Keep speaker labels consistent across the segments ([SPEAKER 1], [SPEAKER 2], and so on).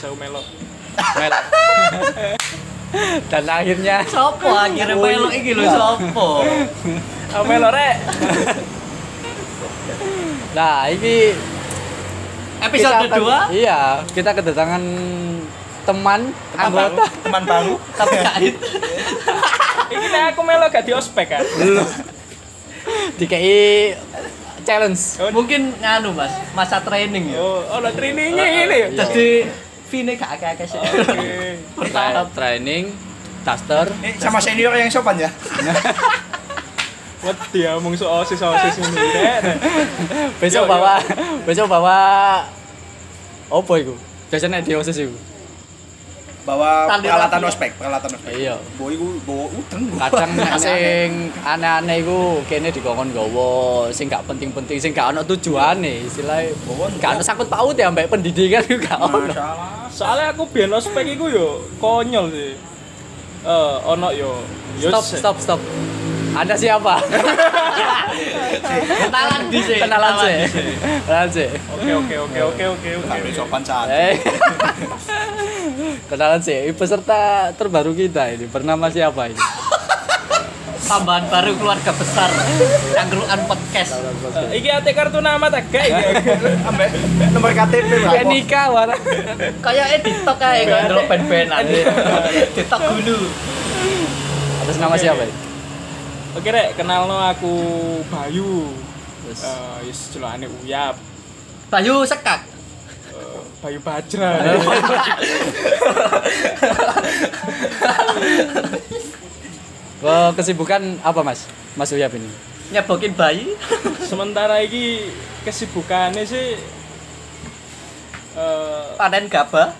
[SPEAKER 1] Sahu Melo.
[SPEAKER 2] Melo. Dan akhirnya
[SPEAKER 3] Sopo akhirnya melo iki lho sopo?
[SPEAKER 1] Sahu Melo rek.
[SPEAKER 2] nah ini
[SPEAKER 3] Episode
[SPEAKER 2] kita akan-
[SPEAKER 3] 2
[SPEAKER 2] Iya, kita kedatangan teman
[SPEAKER 3] Teman
[SPEAKER 2] anggota
[SPEAKER 4] teman baru
[SPEAKER 3] tapi jahit.
[SPEAKER 1] Iki nek aku Melo gak diospek kan.
[SPEAKER 2] DKI challenge.
[SPEAKER 3] Mungkin nganu Mas, masa training ya.
[SPEAKER 1] Oh, ono trainingnya ini. ya?
[SPEAKER 3] Jadi Vine gak akeh-akeh sih.
[SPEAKER 1] Oke.
[SPEAKER 2] Nah.
[SPEAKER 3] Bertahap.
[SPEAKER 2] Training, taster.
[SPEAKER 4] Eh, sama senior yang sopan ya
[SPEAKER 1] Wedi omong soal osis-osis ini rek. Yo,
[SPEAKER 2] Besok
[SPEAKER 1] yo.
[SPEAKER 2] bawa besok bawa opo iku? Biasanya di OSIS iku.
[SPEAKER 4] bawa
[SPEAKER 3] Tali
[SPEAKER 4] peralatan
[SPEAKER 3] rapi.
[SPEAKER 4] ospek peralatan ospek
[SPEAKER 2] Iya.
[SPEAKER 4] boy gue bawa udeng
[SPEAKER 2] kadang nek sing aneh-aneh iku kene dikongkon nggawa sing gak penting-penting sing gak ono tujuane istilahnya
[SPEAKER 4] Bawa
[SPEAKER 2] gak ono sangkut paut ya mbek pendidikan iku gak ono
[SPEAKER 4] masalah
[SPEAKER 1] Soalnya aku biyen ospek iku yo konyol sih. Eh, ono yo yo
[SPEAKER 2] stop
[SPEAKER 1] se-
[SPEAKER 2] stop stop anda siapa
[SPEAKER 3] Kenalan di sini.
[SPEAKER 2] kenalan sih kenalan sih
[SPEAKER 1] Oke oke oke oke oke oke.
[SPEAKER 4] tapi sopan saat
[SPEAKER 2] Eh. kenalan sih peserta terbaru kita ini bernama siapa ini
[SPEAKER 3] Tambahan baru keluarga besar. Cangkruan podcast.
[SPEAKER 1] Eh, Iki ate kartu nama tak gak iki.
[SPEAKER 4] ambek Eh, nomor KTP
[SPEAKER 2] kayak
[SPEAKER 4] berapa
[SPEAKER 2] nikah warna
[SPEAKER 3] Kayaknya di tok ae kok ndelok ben-benan. Di tok dulu.
[SPEAKER 2] atas nama siapa ini
[SPEAKER 1] Oke rek, kenalno aku Bayu.
[SPEAKER 2] Terus,
[SPEAKER 1] Eh, yes, celokane Uyap.
[SPEAKER 3] Bayu sekak.
[SPEAKER 1] Eh, Bayu Bajra.
[SPEAKER 2] eh, kesibukan apa mas mas Uyap ini
[SPEAKER 3] Nyebokin bayi.
[SPEAKER 1] Sementara iki kesibukannya sih eh
[SPEAKER 3] Panen gabah.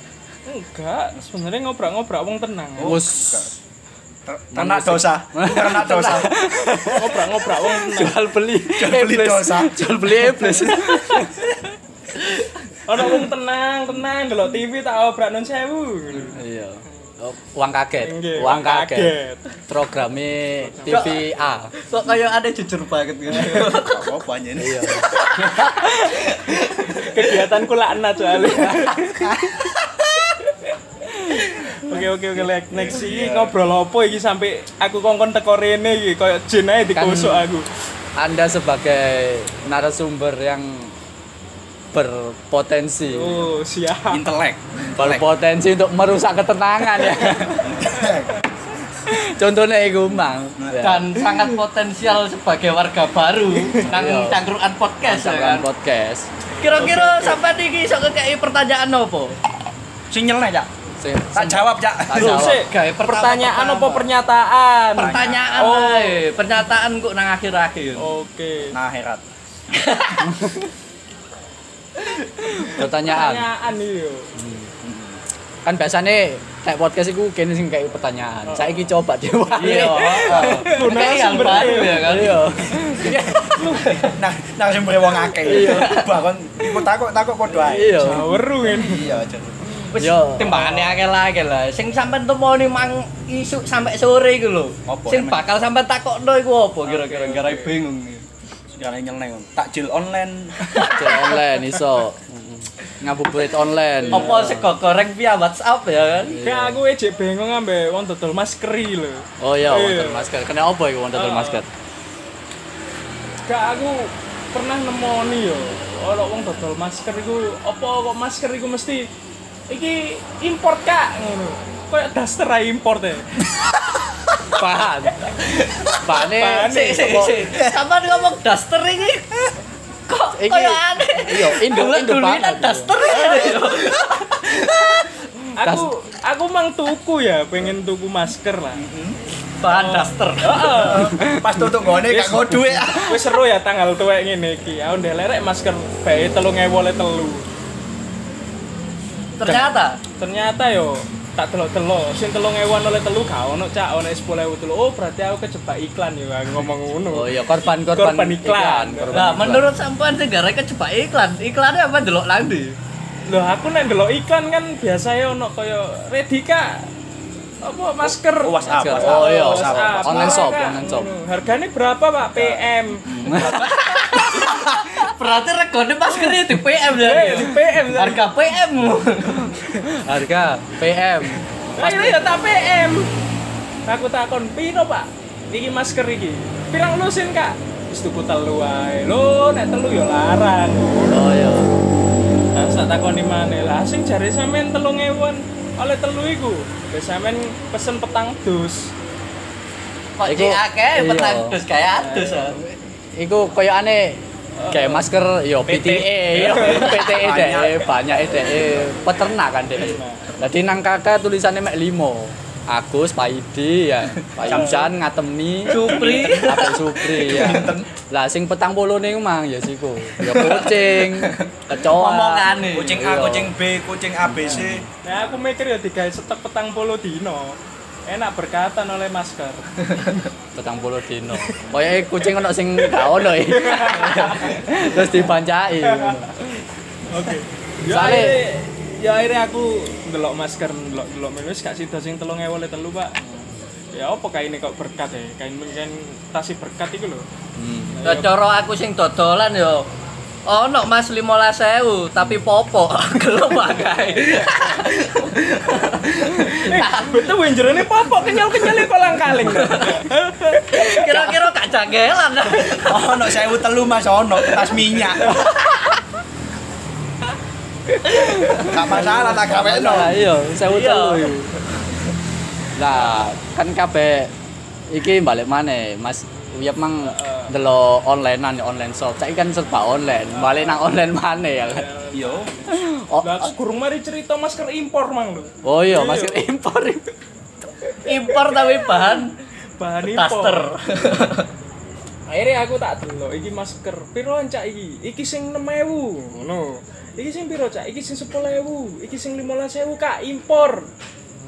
[SPEAKER 1] enggak, sebenarnya ngobrak-ngobrak wong tenang.
[SPEAKER 2] Wus.
[SPEAKER 4] Ter- ternak dosa ternak dosa
[SPEAKER 1] Ngobrak-ngobrak wong tenang.
[SPEAKER 2] jual beli jual
[SPEAKER 4] beli dosa.
[SPEAKER 2] jual beli iblis
[SPEAKER 1] Ono wong tenang, tenang delok TV tak obrak non sewu.
[SPEAKER 2] iya Oh, uang kaget
[SPEAKER 1] Nggih,
[SPEAKER 2] uang kaget programnya TV A
[SPEAKER 3] Kok kayak ada jujur banget gitu.
[SPEAKER 4] apa banyak ini
[SPEAKER 1] Kegiatanku laknat soalnya. Oke oke oke like next iki
[SPEAKER 2] Iya.
[SPEAKER 1] ngobrol apa iki sampai aku kongkon teko rene iki koyo jin ae dikosok
[SPEAKER 2] Kan-
[SPEAKER 1] aku.
[SPEAKER 2] Anda sebagai narasumber yang berpotensi
[SPEAKER 1] Oh, siap.
[SPEAKER 4] intelek
[SPEAKER 2] berpotensi untuk merusak ketenangan ya contohnya itu mang ya.
[SPEAKER 3] Dan kan. sangat potensial sebagai warga baru nang
[SPEAKER 2] Iya.
[SPEAKER 3] cangkruan podcast ya kan.
[SPEAKER 2] Misalkan podcast
[SPEAKER 3] Kira-kira sampai niki iso kekeki pertanyaan opo?
[SPEAKER 4] sinyal nih cak
[SPEAKER 2] Sing-
[SPEAKER 3] Kan
[SPEAKER 4] tak jawab cak
[SPEAKER 2] Tak
[SPEAKER 1] Loh,
[SPEAKER 2] jawab.
[SPEAKER 1] sik,
[SPEAKER 3] Gawe pertama-
[SPEAKER 1] pertanyaan apa
[SPEAKER 3] pertama.
[SPEAKER 1] pernyataan?
[SPEAKER 3] Pertanyaan
[SPEAKER 1] Oh.
[SPEAKER 3] ae, pernyataan kok nang akhir-akhir.
[SPEAKER 1] Oke.
[SPEAKER 4] nah herat
[SPEAKER 2] pertanyaan
[SPEAKER 1] Pertanyaan iya. iyo.
[SPEAKER 2] kan biasanya kayak podcast itu kini sing kayak pertanyaan saya coba coba
[SPEAKER 3] Oh. Iya. Kayak yang
[SPEAKER 1] sumber.
[SPEAKER 3] baru ya kan.
[SPEAKER 2] iya
[SPEAKER 4] nah nah sing wong akeh bahkan ikut takut takut podo ae
[SPEAKER 2] iya
[SPEAKER 1] Jaweru ini.
[SPEAKER 4] iya jadi
[SPEAKER 3] Wis
[SPEAKER 2] Yo.
[SPEAKER 3] timbangane akeh lah akeh lah. Sing sampean temoni mang isuk sampai sore iku lho.
[SPEAKER 4] Apa
[SPEAKER 3] Sing
[SPEAKER 4] emang?
[SPEAKER 3] bakal sampean takokno iku apa kira-kira
[SPEAKER 1] Oke,
[SPEAKER 3] gara
[SPEAKER 1] oke.
[SPEAKER 3] bingung.
[SPEAKER 4] sekarang nyel nih takjil online
[SPEAKER 2] Jual online iso ngabuburit online.
[SPEAKER 3] Apa sego goreng via WhatsApp ya kan?
[SPEAKER 1] Kayak aku ejek bengong ambe wong dodol maskeri lho.
[SPEAKER 2] Oh iya, wonten
[SPEAKER 1] Iya.
[SPEAKER 2] masker. Kena apa iku wonten
[SPEAKER 1] Oh.
[SPEAKER 2] masker?
[SPEAKER 1] Kayak aku pernah nemoni yo, ono wong dodol masker iku apa kok masker iku mesti iki import Kak ngono. Kayak daster ae import e.
[SPEAKER 2] Bahan. Bahane
[SPEAKER 1] Bahane.
[SPEAKER 3] Sik sik
[SPEAKER 2] apa-
[SPEAKER 3] sik. Sampean ngomong daster iki kok ya?
[SPEAKER 2] Iki-
[SPEAKER 3] kaya aneh.
[SPEAKER 2] Iya, Indo Indo
[SPEAKER 3] Dulitan
[SPEAKER 2] banget.
[SPEAKER 3] daster ya.
[SPEAKER 1] Aku aku mang tuku ya, pengen tuku masker lah.
[SPEAKER 3] Bahan daster.
[SPEAKER 4] pas tutup gone gak kau duit
[SPEAKER 1] Wis seru ya tanggal tuwek ngene iki. Aku ndelerek masker bae 3000 le telu.
[SPEAKER 3] Ternyata
[SPEAKER 1] Ternyata yo tak delok-delok sing 3000 oleh telu gak ono cak ono 10000 telu. Oh, berarti aku kejebak iklan yo aku ngomong ngono.
[SPEAKER 2] Oh iya, korban korban,
[SPEAKER 1] Korban iklan.
[SPEAKER 2] korban
[SPEAKER 3] Nah,
[SPEAKER 2] iklan.
[SPEAKER 3] menurut sampean sing gara kejebak iklan, iklannya apa delok nang ndi?
[SPEAKER 1] Loh, aku nek ndelok iklan kan biasanya ono kaya Redika apa masker
[SPEAKER 4] Oh, WhatsApp,
[SPEAKER 2] Masker.
[SPEAKER 4] WhatsApp.
[SPEAKER 2] Oh, iya.
[SPEAKER 1] WhatsApp.
[SPEAKER 2] Online shop,
[SPEAKER 1] Murah, Kak.
[SPEAKER 2] online shop.
[SPEAKER 1] Ngono. Harganya berapa, Pak? PM.
[SPEAKER 3] Berarti regane maskernya di PM lah.
[SPEAKER 1] Eh, di PM tadi.
[SPEAKER 3] Harga PM.
[SPEAKER 2] Harga PM.
[SPEAKER 1] Akhirnya ya tak PM. Aku takon piro, Pak? Iki masker iki. Pirang lusin, Kak? Wis tuku telu wae. Lho, nek telu ya larang.
[SPEAKER 2] Oh ya.
[SPEAKER 1] Nah, tak takoni maneh lah. Sing jare sampean 3000-an oleh telu iku. Wis sampean pesen petang dus.
[SPEAKER 3] Kok
[SPEAKER 2] Iku-
[SPEAKER 3] iki akeh
[SPEAKER 2] iya.
[SPEAKER 3] petang dus kayak adus. ah.
[SPEAKER 2] Iku koyo aneh kayak masker yo
[SPEAKER 1] PT.
[SPEAKER 2] PTE yo PTE deh
[SPEAKER 4] Banyak.
[SPEAKER 2] E banyak deh peternak kan deh jadi nang kakak tulisannya mek limo Agus, Paidi, ya, Pak Imsan, Ngatemni,
[SPEAKER 3] Supri.
[SPEAKER 2] Apa Supri ya. Lah sing petang puluh nih mang ya siku. Ya kucing, kecoa.
[SPEAKER 3] Omongane.
[SPEAKER 4] Kucing A,
[SPEAKER 2] Iya.
[SPEAKER 4] kucing B, kucing ABC.
[SPEAKER 1] Nah, aku mikir ya digawe stok petang puluh dino. Enak berkatan oleh masker.
[SPEAKER 2] petang puluh dino. Koyoke kucing ono sing gak ono. eh. Terus dibancai.
[SPEAKER 1] Oke. Ya
[SPEAKER 2] Sale.
[SPEAKER 1] akhirnya, ya akhirnya aku ndelok masker, ndelok ndelok menu wis gak sida sing 3000 oleh telu, Pak. Ya apa kaine kok berkat ya? Kain kain tasi berkat iku lho.
[SPEAKER 3] Lah cara aku sing dodolan yo ono Mas 15.000 tapi popo gelem pakai.
[SPEAKER 1] Eh, betul wae jerone popok kenyal-kenyale kolang-kaling.
[SPEAKER 3] Kira-kira gak jangkelan.
[SPEAKER 4] Oh, Ono sewu telu Mas Oh, ono tas minyak. Gak masalah tak gawekno.
[SPEAKER 2] Lah iya, sewu
[SPEAKER 3] Iya.
[SPEAKER 2] telu. iku. Lah, kan kabeh iki balik maneh, Mas Uyap mang delok onlinean online shop. Saiki kan serba online. Balik nang online maneh ya kan.
[SPEAKER 4] Yo.
[SPEAKER 2] Oh,
[SPEAKER 1] Lah aku kurang mari cerita masker impor mang lho.
[SPEAKER 2] oh iya,
[SPEAKER 1] Iya.
[SPEAKER 2] masih impor.
[SPEAKER 3] Impor tapi bahan
[SPEAKER 1] Bahan
[SPEAKER 3] taster.
[SPEAKER 1] impor. Akhirnya aku tak delok iki masker piro cak iki? Iki sing 6000 ngono. Iki sing piro cak? Iki sing 10000, iki sing 15000 Kak impor.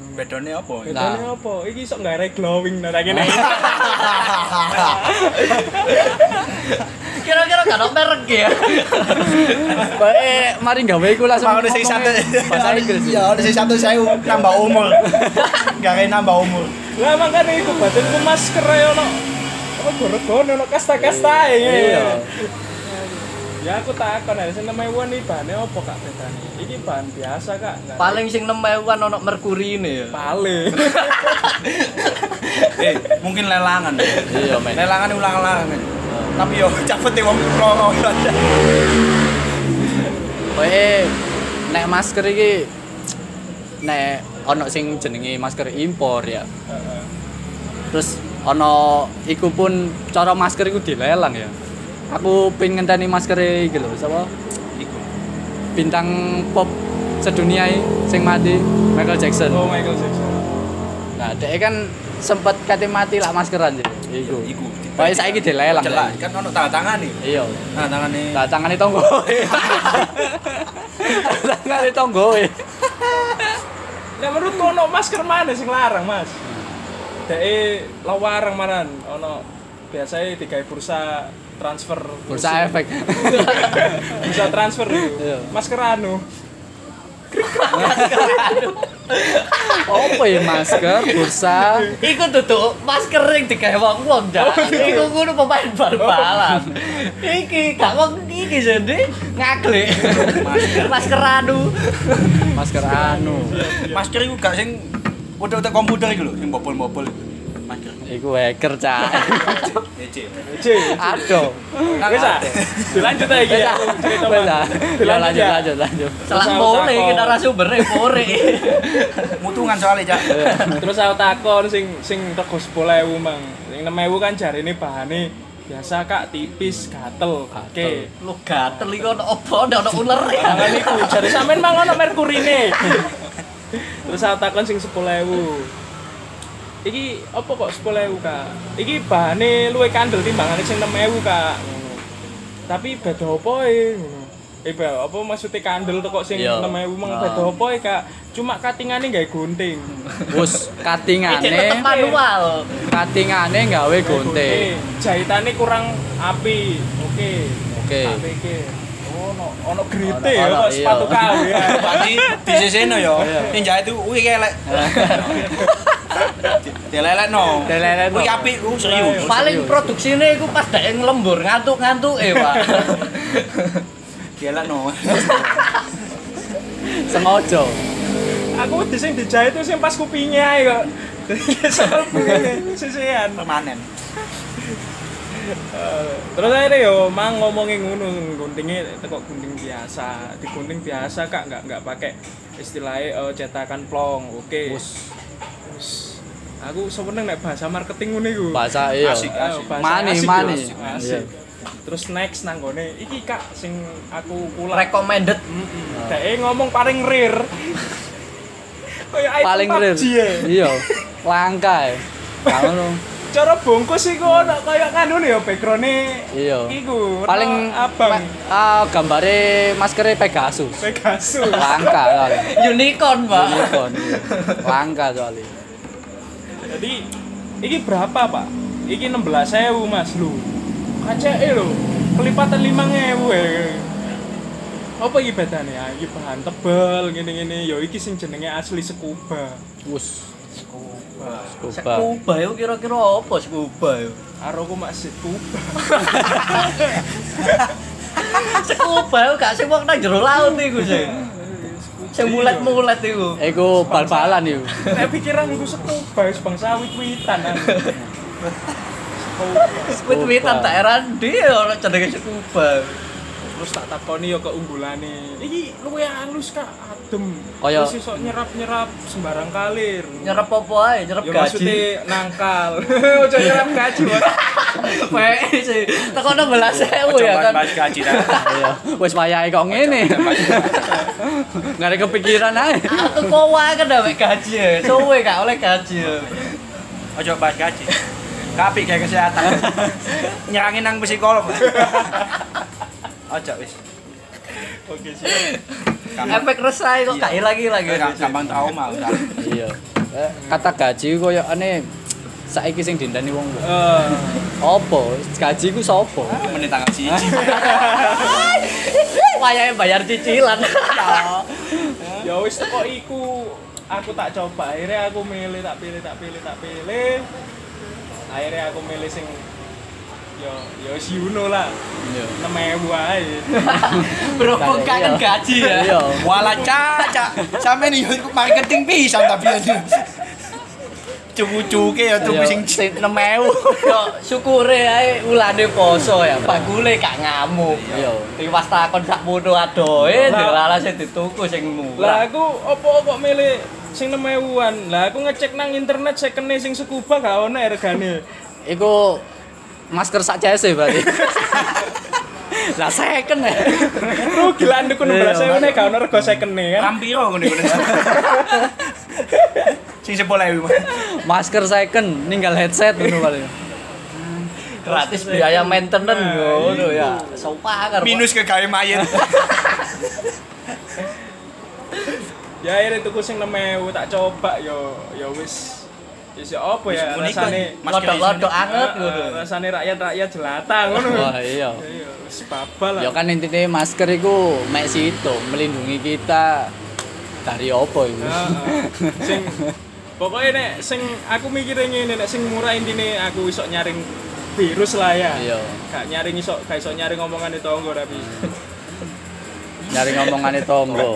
[SPEAKER 4] Bedone apa?
[SPEAKER 2] Nah.
[SPEAKER 1] Bedane apa? Iki sok gak arek glowing nang kene.
[SPEAKER 3] Kira-kira gak ono merek ya.
[SPEAKER 2] Bae, mari gawe iku langsung.
[SPEAKER 4] Mau sing satu.
[SPEAKER 2] ngomongnya Bahasa Inggris.
[SPEAKER 4] Ya, ono sing satu sewu nambah umur. Gak kayak nambah umur.
[SPEAKER 1] Lah makane iku badanku masker ae ono apa gorogone ono kasta-kastae.
[SPEAKER 2] Iya.
[SPEAKER 1] Ya aku takon ae sing 6000 iki bahane apa Kak bedane? Iki bahan biasa Kak. nggak ada
[SPEAKER 3] Paling sing 6.000-an ono merkurine ya.
[SPEAKER 1] paling.
[SPEAKER 4] Eh, mungkin lelangan.
[SPEAKER 2] Iya, men.
[SPEAKER 4] Lelangan ulang-ulangan. Tapi yo cepet wong loro.
[SPEAKER 2] Koe nek masker iki nek ono sing jenenge masker impor ya. Terus ono iku pun cara masker iku dilelang ya. Aku pin ngenteni masker iki lho, sapa?
[SPEAKER 4] Iku.
[SPEAKER 2] Bintang pop sedunia iki sing mati Michael Jackson.
[SPEAKER 1] Oh Michael Jackson.
[SPEAKER 2] Nah, dhek kan sempet kate mati lah maskeran sih. Iku.
[SPEAKER 4] Iku.
[SPEAKER 2] Koe saiki dilelang.
[SPEAKER 4] Jelas
[SPEAKER 2] ya.
[SPEAKER 4] kan ono tanda tangan nih.
[SPEAKER 2] Iya.
[SPEAKER 4] Tanda tangane.
[SPEAKER 2] Lah tangane tonggo. tangane tonggo.
[SPEAKER 1] Nah menurutku ono masker mana sing larang mas? Dek lawarang manan ono biasanya tiga bursa transfer
[SPEAKER 2] Bursa efek.
[SPEAKER 1] bursa transfer itu
[SPEAKER 2] Iya.
[SPEAKER 1] masker anu
[SPEAKER 2] Apa ya masker, bursa,
[SPEAKER 3] Iku duduk masker ring digawe wong-wong jalan. Iku ngono pemain bal-balan. Iki gak wong iki jadi ngaklik. Masker anu.
[SPEAKER 2] masker anu.
[SPEAKER 4] Masker iku gak sing udah-udah komputer iku lho, sing bobol-bobol. iku. Masker.
[SPEAKER 2] Iku hacker cah.
[SPEAKER 4] Ece.
[SPEAKER 1] C
[SPEAKER 2] Aduh.
[SPEAKER 1] bisa dilanjut lagi ya cerita
[SPEAKER 2] Wes
[SPEAKER 1] Mas.
[SPEAKER 2] ah. Ya lanjut lanjut lanjut.
[SPEAKER 3] Salah
[SPEAKER 1] Terus aku
[SPEAKER 3] pore
[SPEAKER 1] takon.
[SPEAKER 3] iki narasumbernya pore.
[SPEAKER 4] Mutungan soalnya, Cak.
[SPEAKER 1] terus aku takon sing sing rego 10.000 mang sing 6.000 kan jari ini bahane biasa kak tipis gatel oke
[SPEAKER 2] Gatel.
[SPEAKER 3] Lu gatel iki ono opo ono uler.
[SPEAKER 1] Tangan iku jare sampean mang ono merkurine. Terus aku takon sing 10000. Iki apa kok 10000, Kak? Iki bahane luwe kandel timbangane sing 6000, Kak. Ngono. Tapi beda apa e? Ngono. Eh, Bel, apa maksudnya kandel tuh kok sing
[SPEAKER 2] Iya.
[SPEAKER 1] 6000 mang
[SPEAKER 2] Ah.
[SPEAKER 1] beda apa e, Kak? Cuma katingane gawe gunting.
[SPEAKER 2] Wes
[SPEAKER 3] Iki tetep
[SPEAKER 2] katingane, Oh,
[SPEAKER 3] manual.
[SPEAKER 2] katingane gawe gunting.
[SPEAKER 1] Jahitane kurang api. Oke.
[SPEAKER 2] Oke.
[SPEAKER 1] Tak pikir. Ono ono grite
[SPEAKER 2] Eh.
[SPEAKER 1] ya
[SPEAKER 2] Ono- ono,
[SPEAKER 1] kok
[SPEAKER 2] iya.
[SPEAKER 1] sepatu kawe. ya.
[SPEAKER 4] Berarti di sisi no yo, yang jahit itu wih kelek. Delelekno.
[SPEAKER 2] Delelekno.
[SPEAKER 4] Kuwi apik ku serius.
[SPEAKER 3] Paling produksinya itu pas daek ngelembur ngantuk-ngantuk eh, Pak.
[SPEAKER 4] Delelekno.
[SPEAKER 2] sengaja
[SPEAKER 1] aku di sing dijahit itu sing pas kupingnya ae kok soal kupingnya sisian
[SPEAKER 4] Permanen.
[SPEAKER 1] terus akhirnya yo mang ngomongin ngono guntingnya teko gunting biasa di gunting biasa kak nggak nggak pakai istilahnya eh, cetakan plong oke
[SPEAKER 2] Wus.
[SPEAKER 1] Wus. aku sebenarnya nek bahasa marketing ngono iku
[SPEAKER 2] bahasa iya
[SPEAKER 4] Asik.
[SPEAKER 1] Ayo, bahasa
[SPEAKER 2] Mani,
[SPEAKER 1] asik yo,
[SPEAKER 2] mani.
[SPEAKER 1] asik, asik. terus next nanggone iki kak sing aku kulang
[SPEAKER 3] Recommended
[SPEAKER 1] Dek ngomong paling rir. Kayak item
[SPEAKER 2] paling
[SPEAKER 1] PUBG
[SPEAKER 2] rir
[SPEAKER 1] ya.
[SPEAKER 2] iya langka ya kamu
[SPEAKER 1] Cara bungkus iku ono kayak kanu ya background-e.
[SPEAKER 2] Iya.
[SPEAKER 1] Iku warna
[SPEAKER 2] paling
[SPEAKER 1] abang
[SPEAKER 2] me- ah gambare maskernya Pegasus
[SPEAKER 1] Pegasus.
[SPEAKER 2] langka soalnya
[SPEAKER 3] unicorn, Pak.
[SPEAKER 2] Unicorn, iya. langka soalnya
[SPEAKER 1] Jadi iki berapa, Pak? Iki 16.000, Mas, lu. KCE lho, kelipatan 5.000 ya. Apa iki bedane? Ah, iki bahan tebel ngene-ngene. Ya iki sing jenenge asli sekuba.
[SPEAKER 2] us scuba
[SPEAKER 3] Scuba yo kira-kira apa scuba yo?
[SPEAKER 1] Aroku maksud kuba.
[SPEAKER 3] Scuba yo gak sing wong nang jero laut iku sih. Sing mulet-mulet iku.
[SPEAKER 2] Ego bal-balan yuk
[SPEAKER 1] Nek pikiran iku sekuba wis bangsa wit-witan. ah.
[SPEAKER 3] Wit-witan tak heran dhe ora jenenge scuba.
[SPEAKER 1] Terus tak takoni yo keunggulane. Iki luwe halus Kak, adem.
[SPEAKER 2] Kaya-
[SPEAKER 1] Terus iso nyerap-nyerap sembarang kalir.
[SPEAKER 3] Nyerep apa ae? Nyerep
[SPEAKER 1] Ya
[SPEAKER 3] gaji.
[SPEAKER 1] maksudnya nangkal. Ojo nyerap gaji. Mas.
[SPEAKER 3] Wae sih. Tekan 16.000 ya
[SPEAKER 4] Coba
[SPEAKER 3] kan.
[SPEAKER 4] mas kaji dah.
[SPEAKER 2] iya wis wayahe kok ngene nggak ada kepikiran aja
[SPEAKER 3] Aku kowa kan dah mek gaji ya. Suwe gak oleh gaji. ya.
[SPEAKER 4] Ojo bahas gaji. Kapik kayak kesehatan. Nyerangin nang psikolog. Ojo wis.
[SPEAKER 1] Oke, siap.
[SPEAKER 4] Gampang,
[SPEAKER 3] Efek resah kok gak ilang-ilang ya.
[SPEAKER 4] gampang- gampang trauma. udah.
[SPEAKER 2] iya Eh, kata gaji koyo aneh saiki sing dindani wong
[SPEAKER 1] Eh,
[SPEAKER 2] apa gaji ku sapa
[SPEAKER 4] Menit tanggal siji.
[SPEAKER 3] Wayahe bayar cicilan.
[SPEAKER 1] ya wis kok iku aku tak coba akhirnya aku milih tak pilih tak pilih tak pilih akhirnya aku milih sing ya, yo yo si Yuno lah
[SPEAKER 2] iya
[SPEAKER 1] 6000 ae
[SPEAKER 3] Berhubung kangen gaji ya.
[SPEAKER 2] iya
[SPEAKER 4] Wala caca. Sampe nih ikut marketing pisan tapi aja. Cucu-cucu ya tuh sing
[SPEAKER 2] sing 6000
[SPEAKER 3] Yo syukure ae ulane poso ya. Bakule gak ngamuk.
[SPEAKER 2] iya
[SPEAKER 3] Tiwas takon sak mono adoe,
[SPEAKER 1] Lah.
[SPEAKER 3] delala sing dituku sing
[SPEAKER 1] lah
[SPEAKER 3] murah.
[SPEAKER 1] aku opo kok milih sing 6000an lah aku ngecek nang internet secondnya sing sekuba gak ono regane
[SPEAKER 2] iku masker sak cese berarti lah second e. ya
[SPEAKER 1] rugi lah nduk 16.000 nek gak ono rego secondnya kan
[SPEAKER 4] rampiro ngene ngene. Sing sepoleh iki.
[SPEAKER 2] masker second ninggal headset ngono paling
[SPEAKER 3] Gratis biaya maintenance
[SPEAKER 1] Nah,
[SPEAKER 3] ngono ya. Sopakar.
[SPEAKER 4] Minus ke gawe mayat.
[SPEAKER 1] ya akhirnya tuku sing 6000 tak coba yo yo wis wis ya apa ya
[SPEAKER 4] Wis unik,
[SPEAKER 1] rasane
[SPEAKER 4] kan?
[SPEAKER 3] lodok-lodok anget
[SPEAKER 1] Eh,
[SPEAKER 3] ngono.
[SPEAKER 1] eh, rasane rakyat-rakyat jelata ngono
[SPEAKER 2] wah iya
[SPEAKER 1] Iya, wis babal lah.
[SPEAKER 2] Ya kan intinya masker itu mek situ melindungi kita dari apa itu.
[SPEAKER 1] Heeh. sing pokoknya nek sing aku mikirnya ngene nek sing murah intine aku iso nyaring virus lah ya.
[SPEAKER 2] Iya.
[SPEAKER 1] Gak nyaring iso gak iso nyaring omongan itu tonggo tapi
[SPEAKER 2] Nyari ngomongane tonggo.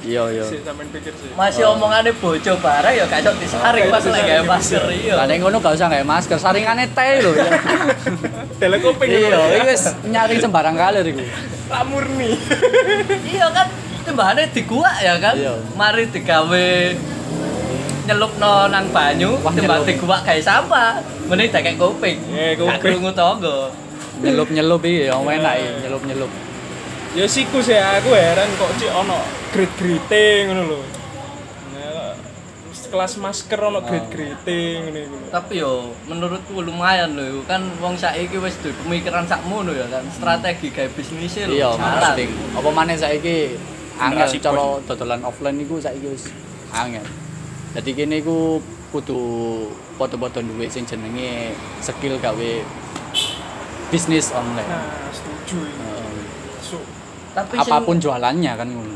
[SPEAKER 2] Iya iya.
[SPEAKER 1] sih sampean pikir sih.
[SPEAKER 3] Masih omongannya bojo bareng ya gak iso disaring pas lek gawe masker iya.
[SPEAKER 2] Lah nek ngono gak usah gawe masker, saringane teh lho. ya.
[SPEAKER 1] Telekoping
[SPEAKER 2] Iya, iki wis nyari sembarang kalir iku.
[SPEAKER 1] ya. tak murni.
[SPEAKER 3] Iya kan timbahane diguak ya kan.
[SPEAKER 2] Iya.
[SPEAKER 3] Mari digawe nyelupno nang banyu,
[SPEAKER 2] Wah,
[SPEAKER 3] timbang
[SPEAKER 2] nyelup.
[SPEAKER 3] diguak kayak sampah. Mending tak kayak kuping.
[SPEAKER 1] Eh,
[SPEAKER 3] Gak
[SPEAKER 1] kuping.
[SPEAKER 3] krungu tonggo.
[SPEAKER 2] Nyelup-nyelup iki ya enak iki, nyelup-nyelup.
[SPEAKER 1] Ya siku sih aku heran kok cik ono grade-grade ngono lho. Nah, kelas masker
[SPEAKER 2] Ah.
[SPEAKER 1] ono grade-grade ngono iku.
[SPEAKER 3] tapi yo menurutku lumayan loh iku kan wong saiki wis duwe pemikiran sakmono ya kan strategi gawe bisnis e lho
[SPEAKER 2] Iya,
[SPEAKER 3] jalan.
[SPEAKER 2] penting. Apa maneh saiki angel
[SPEAKER 4] Generasi
[SPEAKER 2] cara dodolan offline iku saiki wis angel. Jadi kene iku kudu foto-foto duwe sing jenenge skill gawe bisnis online. Eh,
[SPEAKER 1] Nah, setuju ini. So,
[SPEAKER 3] tapi
[SPEAKER 2] apapun
[SPEAKER 3] apapun
[SPEAKER 2] jualannya kan ngono.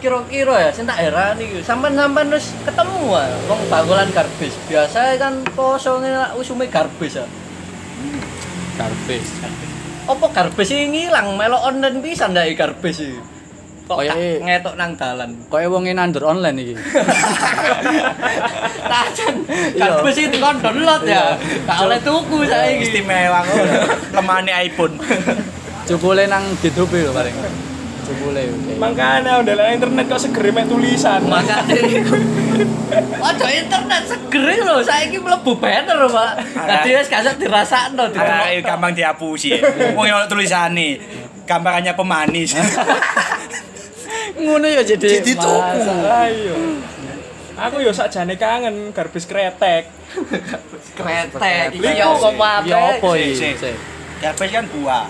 [SPEAKER 3] kira-kira ya sing tak herani iki sampean-sampean wis ketemu ah wong bakolan garbis biasa kan poso ngene lak usume garbis ya
[SPEAKER 2] garbis
[SPEAKER 3] apa garbis iki ngilang melok online pisan ndake garbis iki kok tak
[SPEAKER 2] Kayake-
[SPEAKER 3] ngetok nang dalan
[SPEAKER 2] koyo wong e nandur online iki
[SPEAKER 3] tajan garbis iki kon download ya gak oleh tuku saiki
[SPEAKER 4] Istimewa kok. Lemane iPhone.
[SPEAKER 2] cukule nang GDP lho paling cukule oke
[SPEAKER 1] Makanya udah lah internet kok segera main tulisan.
[SPEAKER 3] makanya iku. Ojo internet seger lho saiki mlebu banner Pak
[SPEAKER 4] Arah.
[SPEAKER 3] tadi wis gak usah dirasakno
[SPEAKER 4] Ah,
[SPEAKER 3] ditelok.
[SPEAKER 4] gampang dihapusi. Wong ono tulisane. Gambarannya pemanis.
[SPEAKER 2] ngono ya jadi
[SPEAKER 4] Jadi tuku.
[SPEAKER 1] Ayo. Aku yo sakjane kangen garbis kretek.
[SPEAKER 3] kretek iki
[SPEAKER 1] Liku.
[SPEAKER 3] ya apa
[SPEAKER 2] ya
[SPEAKER 3] apa
[SPEAKER 2] apa iki
[SPEAKER 4] Sik, Eh.
[SPEAKER 2] Sik.
[SPEAKER 4] sik.
[SPEAKER 2] Eh,
[SPEAKER 4] Garbage kan buah.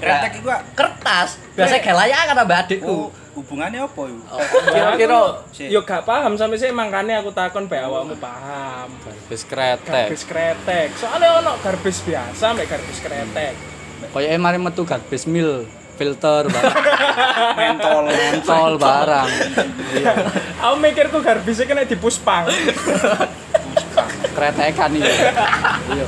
[SPEAKER 4] Kretek iku ah,
[SPEAKER 3] kertas biasa kayak layak kata mbak adikku
[SPEAKER 4] oh, hubungannya apa iku?
[SPEAKER 1] oh.
[SPEAKER 2] kira-kira
[SPEAKER 4] Sik.
[SPEAKER 1] Yo gak paham sampai sih makanya aku takon be awakmu paham.
[SPEAKER 2] garbis kretek
[SPEAKER 1] Garbis kretek. Soalnya ono garbis biasa mbek garbis kretek.
[SPEAKER 2] koyo e mari metu garbis mil filter barang
[SPEAKER 4] mentol.
[SPEAKER 2] mentol barang
[SPEAKER 1] Aku mikirku garbisnya kena di puspang.
[SPEAKER 2] kretekan iki iya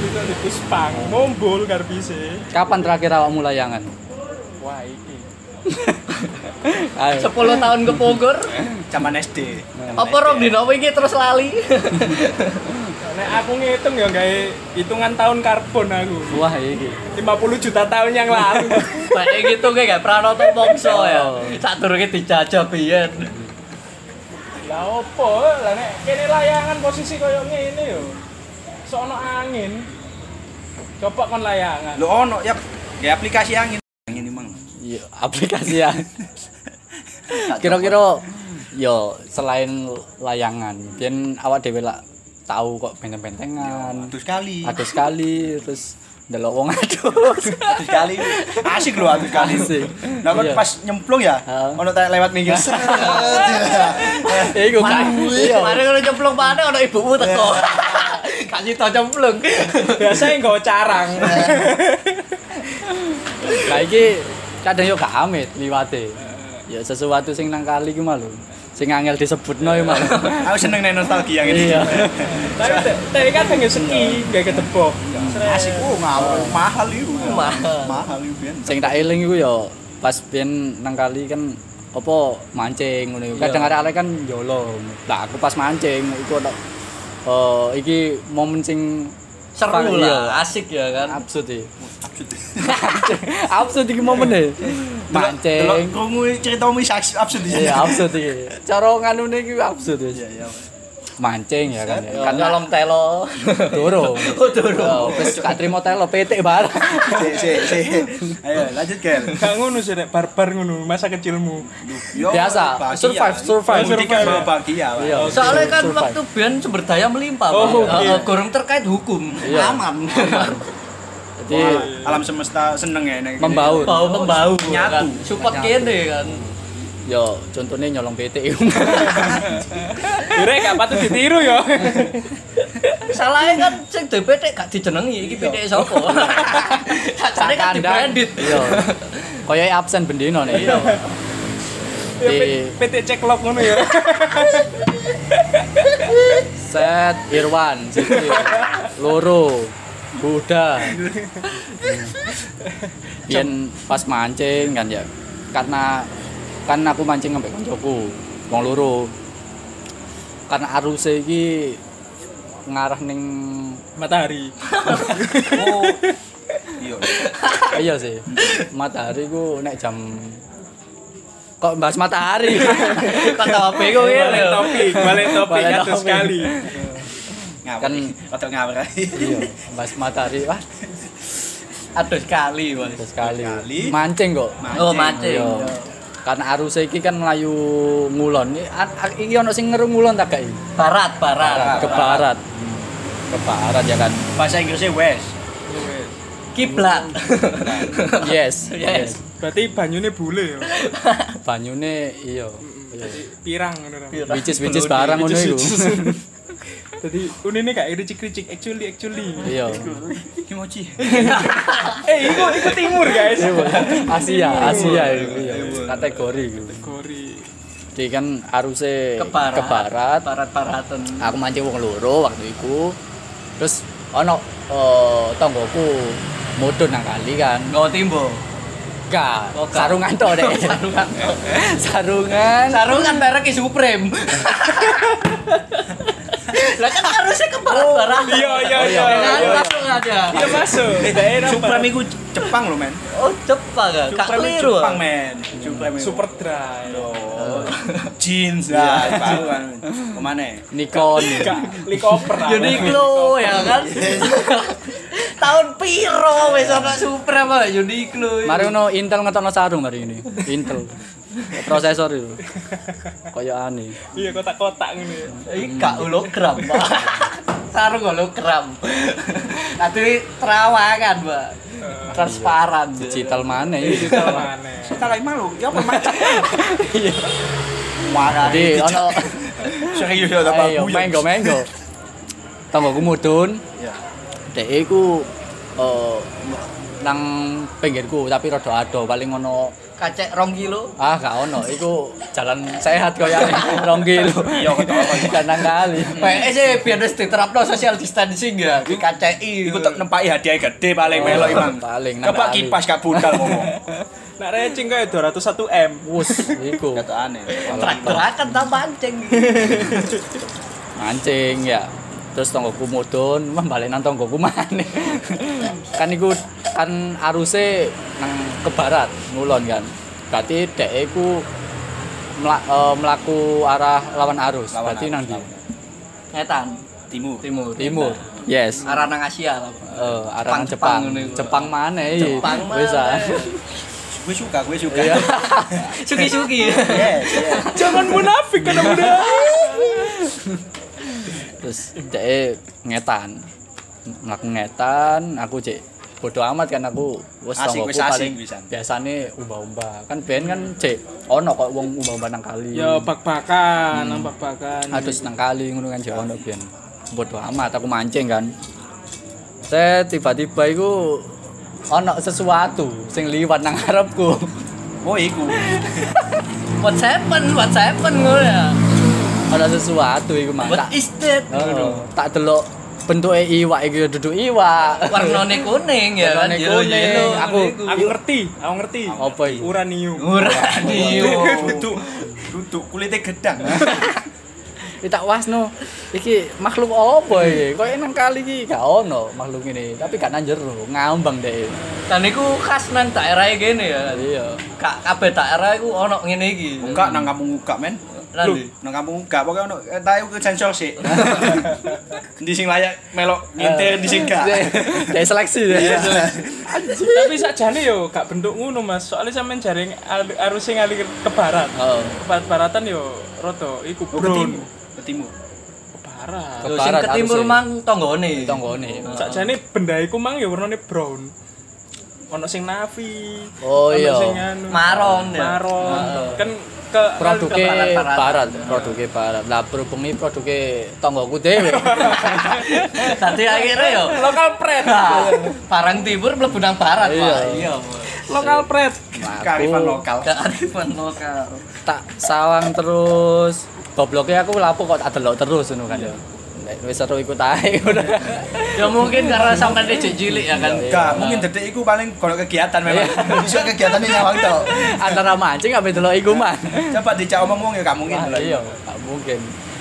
[SPEAKER 1] Itu di puspang, ngombol garbisnya.
[SPEAKER 2] kapan terakhir awakmu layangan
[SPEAKER 1] e. Wah, iki.
[SPEAKER 2] ayo
[SPEAKER 3] 10 tahun ke Bogor
[SPEAKER 4] Zaman SD. Zaman
[SPEAKER 3] apa
[SPEAKER 4] SD.
[SPEAKER 3] rong dino iki terus lali
[SPEAKER 1] Nek aku ngitung ya gawe hitungan tahun karbon aku.
[SPEAKER 2] wah iki
[SPEAKER 1] 50 juta tahun yang lalu.
[SPEAKER 3] Mbak gitu kayak gak pranoto mongso ya sak durunge dijajah biyen
[SPEAKER 1] lah opo? Lah nek kene layangan posisi koyo ngene yo. Sono angin. Coba kon layangan.
[SPEAKER 4] Lho ono ya ya aplikasi angin. Angin emang.
[SPEAKER 2] iya aplikasi ya kira-kira yo selain layangan biyen awak dhewe lak tahu kok benteng-bentengan
[SPEAKER 4] Atus kali.
[SPEAKER 2] aduh sekali terus ndelok wong aduh
[SPEAKER 4] Atus kali. Asik lho atus kali.
[SPEAKER 2] Asik.
[SPEAKER 4] Nah kan
[SPEAKER 2] Iya.
[SPEAKER 4] pas nyemplung ya,
[SPEAKER 2] Heeh.
[SPEAKER 4] ono tak lewat minggir. Set.
[SPEAKER 2] ya iku kan
[SPEAKER 3] mari Iya. ngono cemplung mana ono ibumu teko kasih tau cemplung
[SPEAKER 1] Biasanya nggawa carang.
[SPEAKER 2] lah iki kadang yo gak amit liwate ya sesuatu sing nang kali ku malu sing angel disebutno ya malu
[SPEAKER 4] Aku seneng nih nostalgia gitu.
[SPEAKER 2] Iya.
[SPEAKER 1] Tapi te- tapi kadang yo seki gawe ketebok.
[SPEAKER 4] Asik oh ngawur mahal itu.
[SPEAKER 3] Mahal.
[SPEAKER 4] Mahal itu ben.
[SPEAKER 2] sing tak eling iku yo pas biyen nang kali kan apa mancing ngono iku. Kadang
[SPEAKER 3] Iya.
[SPEAKER 2] arek-arek kan yolo. Lah aku pas mancing iku ono eh iki momen sing
[SPEAKER 3] seru
[SPEAKER 2] Iya.
[SPEAKER 3] lah asik ya kan
[SPEAKER 2] absurd iki.
[SPEAKER 4] Absurd.
[SPEAKER 2] absurd iki momen e.
[SPEAKER 4] Delok
[SPEAKER 2] Mancing.
[SPEAKER 4] krungu ceritamu iki absurd absurd
[SPEAKER 2] Iya
[SPEAKER 4] ya.
[SPEAKER 2] absurd iki. Cara nganune iki absurd wis.
[SPEAKER 4] Iya iya.
[SPEAKER 2] Mancing ya kan. Iya.
[SPEAKER 3] kan
[SPEAKER 2] Karena
[SPEAKER 3] nyolong telo
[SPEAKER 2] dorong.
[SPEAKER 3] oh durung
[SPEAKER 2] Yo, Wis gak trimo telo petik barang.
[SPEAKER 4] Sik sik sik. Ayo lanjut Kel.
[SPEAKER 1] Gak ngono sih nek barbar ngono masa kecilmu.
[SPEAKER 4] Yo,
[SPEAKER 2] Biasa,
[SPEAKER 4] bahagia.
[SPEAKER 2] survive, survive.
[SPEAKER 4] Mudik kan
[SPEAKER 1] Survive.
[SPEAKER 4] bahagia. Pak.
[SPEAKER 2] Iya.
[SPEAKER 3] Soalnya kan
[SPEAKER 2] Survive.
[SPEAKER 3] waktu biyen sumber daya melimpah,
[SPEAKER 1] Oh,
[SPEAKER 3] Pak.
[SPEAKER 1] oke.
[SPEAKER 3] Heeh, gorong terkait hukum.
[SPEAKER 2] Iya.
[SPEAKER 3] Aman.
[SPEAKER 2] Jadi
[SPEAKER 4] Wah, alam semesta seneng ya nek.
[SPEAKER 2] membaur.
[SPEAKER 3] Bau pembau
[SPEAKER 4] Nyatu.
[SPEAKER 3] kan. Support kene kan.
[SPEAKER 2] Yo contohnya nyolong petik.
[SPEAKER 1] Direk gak patut ditiru yo.
[SPEAKER 3] Salahnya kan sing DPT gak dijenengi iki pitik sapa. Sakjane
[SPEAKER 2] Kandang.
[SPEAKER 3] kan di-branded.
[SPEAKER 2] Iya. Koyoke absen bendino nih. Iya.
[SPEAKER 1] Ya,
[SPEAKER 2] Di-
[SPEAKER 1] P- PT ceklok ngono ya.
[SPEAKER 2] Set Irwan sini. Loro Buddha. Biyen pas mancing kan ya. Karena kan aku mancing sampai koncoku. Wong loro. Karena arusnya iki ngarah ning
[SPEAKER 1] Matahari.
[SPEAKER 4] Oh. Iya.
[SPEAKER 2] iya sih. Matahari ku nek jam kok bahas matahari.
[SPEAKER 3] Kan tau HP kowe
[SPEAKER 1] Balik topik, balik topik
[SPEAKER 2] Balik
[SPEAKER 1] atus
[SPEAKER 2] topik.
[SPEAKER 1] sekali.
[SPEAKER 4] Ngawur. Kan
[SPEAKER 2] Kan-
[SPEAKER 4] otak ngawur.
[SPEAKER 2] iya, bahas matahari. Wah,
[SPEAKER 3] Aduh sekali, Mas.
[SPEAKER 2] Betul sekali.
[SPEAKER 4] Sekali.
[SPEAKER 2] Mancing kok.
[SPEAKER 3] Oh, mati.
[SPEAKER 2] Iya. Karena arus iki kan melayu ngulon. Ini a- a- Iki ono sing ngeru ngulon tak gak iki?
[SPEAKER 3] Barat, barat.
[SPEAKER 2] Ke barat. Ke barat ya kan.
[SPEAKER 4] Bahasa Inggrisnya west.
[SPEAKER 3] Kiblat.
[SPEAKER 2] Yes,
[SPEAKER 3] Yes.
[SPEAKER 2] yes.
[SPEAKER 1] Berarti banyune bule ya.
[SPEAKER 2] Banyune iya.
[SPEAKER 1] Pirang ngono. Ra.
[SPEAKER 2] Which is which is barang ngono iku.
[SPEAKER 1] Jadi unine gak ricik-ricik actually actually.
[SPEAKER 2] Iya.
[SPEAKER 4] Kimochi.
[SPEAKER 1] Eh, iku iku timur, guys.
[SPEAKER 2] Iya, Bu. Asia, Asia itu ya.
[SPEAKER 4] Iya, Bu.
[SPEAKER 2] Kategori itu.
[SPEAKER 1] Gori.
[SPEAKER 2] Jadi kan arusnya
[SPEAKER 3] ke barat
[SPEAKER 2] ke barat.
[SPEAKER 3] paratan
[SPEAKER 2] Aku mancing wong loro waktu itu. Terus ono eh, tonggoku mudun nang kali kan.
[SPEAKER 3] Jawa Timur
[SPEAKER 2] Gak,
[SPEAKER 3] Oh, gak.
[SPEAKER 2] sarungan to deh. sarungan. sarungan.
[SPEAKER 3] sarungan kan merek is Supreme lah kan harusnya ke barat barat
[SPEAKER 1] Iya, iya, iya.
[SPEAKER 3] kan
[SPEAKER 1] iya.
[SPEAKER 3] langsung ada
[SPEAKER 1] Iya masuk. Daerah
[SPEAKER 4] Supreme
[SPEAKER 1] Barat.
[SPEAKER 4] iku Jepang lho, men.
[SPEAKER 3] oh Jepang kan kak
[SPEAKER 4] Supreme
[SPEAKER 3] keliru
[SPEAKER 4] Jepang, men. Supreme. iku.
[SPEAKER 1] super dry.
[SPEAKER 4] Oh, jeans lah,
[SPEAKER 2] Iya.
[SPEAKER 4] baru kan. Kemana?
[SPEAKER 2] Nikon.
[SPEAKER 1] Gak likoper.
[SPEAKER 3] Uniqlo ya kan tahun piro wis ana Supreme apa Uniqlo
[SPEAKER 2] Mari ono Intel ngetokno sarung mari ini. Intel. Prosesor itu. Koyo aneh.
[SPEAKER 1] Iya kotak-kotak ngene.
[SPEAKER 3] Ini gak hologram, Pak. Sarung hologram. Nanti terawangan, Pak. Transparan.
[SPEAKER 2] Digital mana
[SPEAKER 1] Itu
[SPEAKER 2] ya?
[SPEAKER 1] mana?
[SPEAKER 4] Kita lagi malu, ya apa macam?
[SPEAKER 3] Iya.
[SPEAKER 2] Jadi ono
[SPEAKER 4] Serius ya apa
[SPEAKER 2] ayo menggo menggo. Tonggoku mudun.
[SPEAKER 4] Ya.
[SPEAKER 2] Dek iku eh, nang pinggirku tapi rada ado paling ono
[SPEAKER 3] Kacek rong kilo.
[SPEAKER 2] ah gak ono iku jalan sehat koyo rong kilo.
[SPEAKER 4] Iya, ketokon.
[SPEAKER 2] Kadang kali.
[SPEAKER 3] PS sih biar harus diterapno social distancing ya di KCI.
[SPEAKER 4] Iku tak nempai hadiah gede paling melo imang.
[SPEAKER 2] Oh. Paling,
[SPEAKER 4] Kepak
[SPEAKER 2] nandani.
[SPEAKER 4] kipas kak budal ngomong.
[SPEAKER 1] Nak recing kaya 201 M.
[SPEAKER 2] Wus iku.
[SPEAKER 4] Kata aneh.
[SPEAKER 3] terakan tak pancing.
[SPEAKER 2] mancing ya terus tonggoku mudun wah balik nang tonggoku maneh kan iku kan aruse nang ke barat ngulon kan berarti dek iku mla- eh, melaku arah lawan arus
[SPEAKER 4] Lawan
[SPEAKER 2] berarti
[SPEAKER 4] arus,
[SPEAKER 2] nang di
[SPEAKER 4] lawan
[SPEAKER 3] Ngetan.
[SPEAKER 4] Timur.
[SPEAKER 3] Timur.
[SPEAKER 2] timur yes
[SPEAKER 3] Arah nang Asia lah.
[SPEAKER 2] Eh, arah nang
[SPEAKER 3] Jepang,
[SPEAKER 2] Jepang
[SPEAKER 3] Jepang
[SPEAKER 2] Jepang,
[SPEAKER 3] ini.
[SPEAKER 2] mana
[SPEAKER 3] Jepang mana?
[SPEAKER 4] Gue suka, gue suka.
[SPEAKER 2] Iya.
[SPEAKER 3] Suki-suki.
[SPEAKER 4] Yes, yes.
[SPEAKER 1] Jangan munafik kan muda.
[SPEAKER 2] terus dek ngetan melaku ngetan aku cek bodoh amat kan aku wes
[SPEAKER 4] Asing,
[SPEAKER 2] tonggoku
[SPEAKER 4] wis asing
[SPEAKER 2] paling-
[SPEAKER 4] pisan.
[SPEAKER 2] biasane umba-umba kan ben kan cek ono kok wong umba-umba nang kali
[SPEAKER 1] Ya bak-bakan, hmm. bak-bakan.
[SPEAKER 2] adus nang kali ngono kan cek ono ben bodo amat aku mancing kan saya tiba-tiba iku ono sesuatu sing liwat nang arepku
[SPEAKER 4] Oh, iku.
[SPEAKER 3] What's happen? What's happen ngono ya?
[SPEAKER 2] ono sesuatu iku mang tak
[SPEAKER 3] What is that?
[SPEAKER 2] oh, tak delok bentuke iwak iki duduk iwak
[SPEAKER 3] Warnane kuning ya kan.
[SPEAKER 2] Warnane
[SPEAKER 3] Yellow,
[SPEAKER 2] kuning.
[SPEAKER 3] yellow,
[SPEAKER 2] Aku-
[SPEAKER 3] ngono iku.
[SPEAKER 1] Aku ngerti, aku ngerti.
[SPEAKER 2] Apa iki?
[SPEAKER 1] Uranium.
[SPEAKER 2] Iya.
[SPEAKER 3] Uranium.
[SPEAKER 4] Duduk, duduk kulitnya gedang.
[SPEAKER 2] Iki tak wasno iki makhluk apa iki koyo nang kali iki gak ono makhluk ini tapi gak nang jero ngambang deh
[SPEAKER 3] Dan iku khas nang daerah gini ya.
[SPEAKER 2] iya
[SPEAKER 3] Kak kabeh daerah iku ono ngene iki.
[SPEAKER 4] Enggak nang kampung uga, men.
[SPEAKER 3] Lah,
[SPEAKER 1] Loh.
[SPEAKER 3] Di.
[SPEAKER 4] Nang kampung uga pokoknya ono eh, tahu ke sensor sih. Di sing layak melok ngintir di sing gak.
[SPEAKER 2] Dari eh, seleksi
[SPEAKER 4] Iya.
[SPEAKER 2] ya.
[SPEAKER 1] Tapi sakjane yo gak bentuk ngono Mas. Soalnya sampean jaring al- arusnya ngalir ke barat.
[SPEAKER 2] Oh,
[SPEAKER 1] Ke barat baratan yo roto iku
[SPEAKER 4] Oh, Ke
[SPEAKER 1] brown.
[SPEAKER 4] timur. Ke timur.
[SPEAKER 1] Ke barat.
[SPEAKER 2] Ke
[SPEAKER 3] Lho sing
[SPEAKER 2] barat
[SPEAKER 3] ke timur
[SPEAKER 2] harusnya.
[SPEAKER 3] mang tonggone.
[SPEAKER 2] tonggone.
[SPEAKER 1] Sakjane benda iku mang yo warnane brown. Ono sing navi.
[SPEAKER 2] Oh,
[SPEAKER 1] ono
[SPEAKER 2] iya. Ah.
[SPEAKER 1] sing anu.
[SPEAKER 3] Maron ya.
[SPEAKER 1] Maron.
[SPEAKER 3] Heeh.
[SPEAKER 1] Kan ke
[SPEAKER 2] Produke
[SPEAKER 1] ke
[SPEAKER 3] Barat, barat.
[SPEAKER 2] barat, produke barat. Lah berhubung iki produke tonggoku dhewe.
[SPEAKER 3] Dadi akhirnya yo
[SPEAKER 1] lokal pret.
[SPEAKER 3] nah, barang timur mlebu nang barat,
[SPEAKER 2] Iya.
[SPEAKER 3] Pak. Iya.
[SPEAKER 1] lokal pret.
[SPEAKER 4] Kearifan
[SPEAKER 2] Aku
[SPEAKER 4] lokal.
[SPEAKER 3] Kearifan lokal.
[SPEAKER 2] tak sawang terus. Gobloke aku lapo kok tak delok terus ngono kan ya. Nek wis seru ikut ae.
[SPEAKER 3] Ya mungkin karena sampean dicek cilik ya kan.
[SPEAKER 4] Enggak, mungkin detik iku paling kalau kegiatan memang.
[SPEAKER 2] Iya.
[SPEAKER 4] Bisa kegiatan ini nyawang tau.
[SPEAKER 2] Antara mancing ambek delok iku man.
[SPEAKER 4] Coba dicak omong-omong ya gak mungkin.
[SPEAKER 2] Wah,
[SPEAKER 4] lah.
[SPEAKER 2] iya, gak mungkin.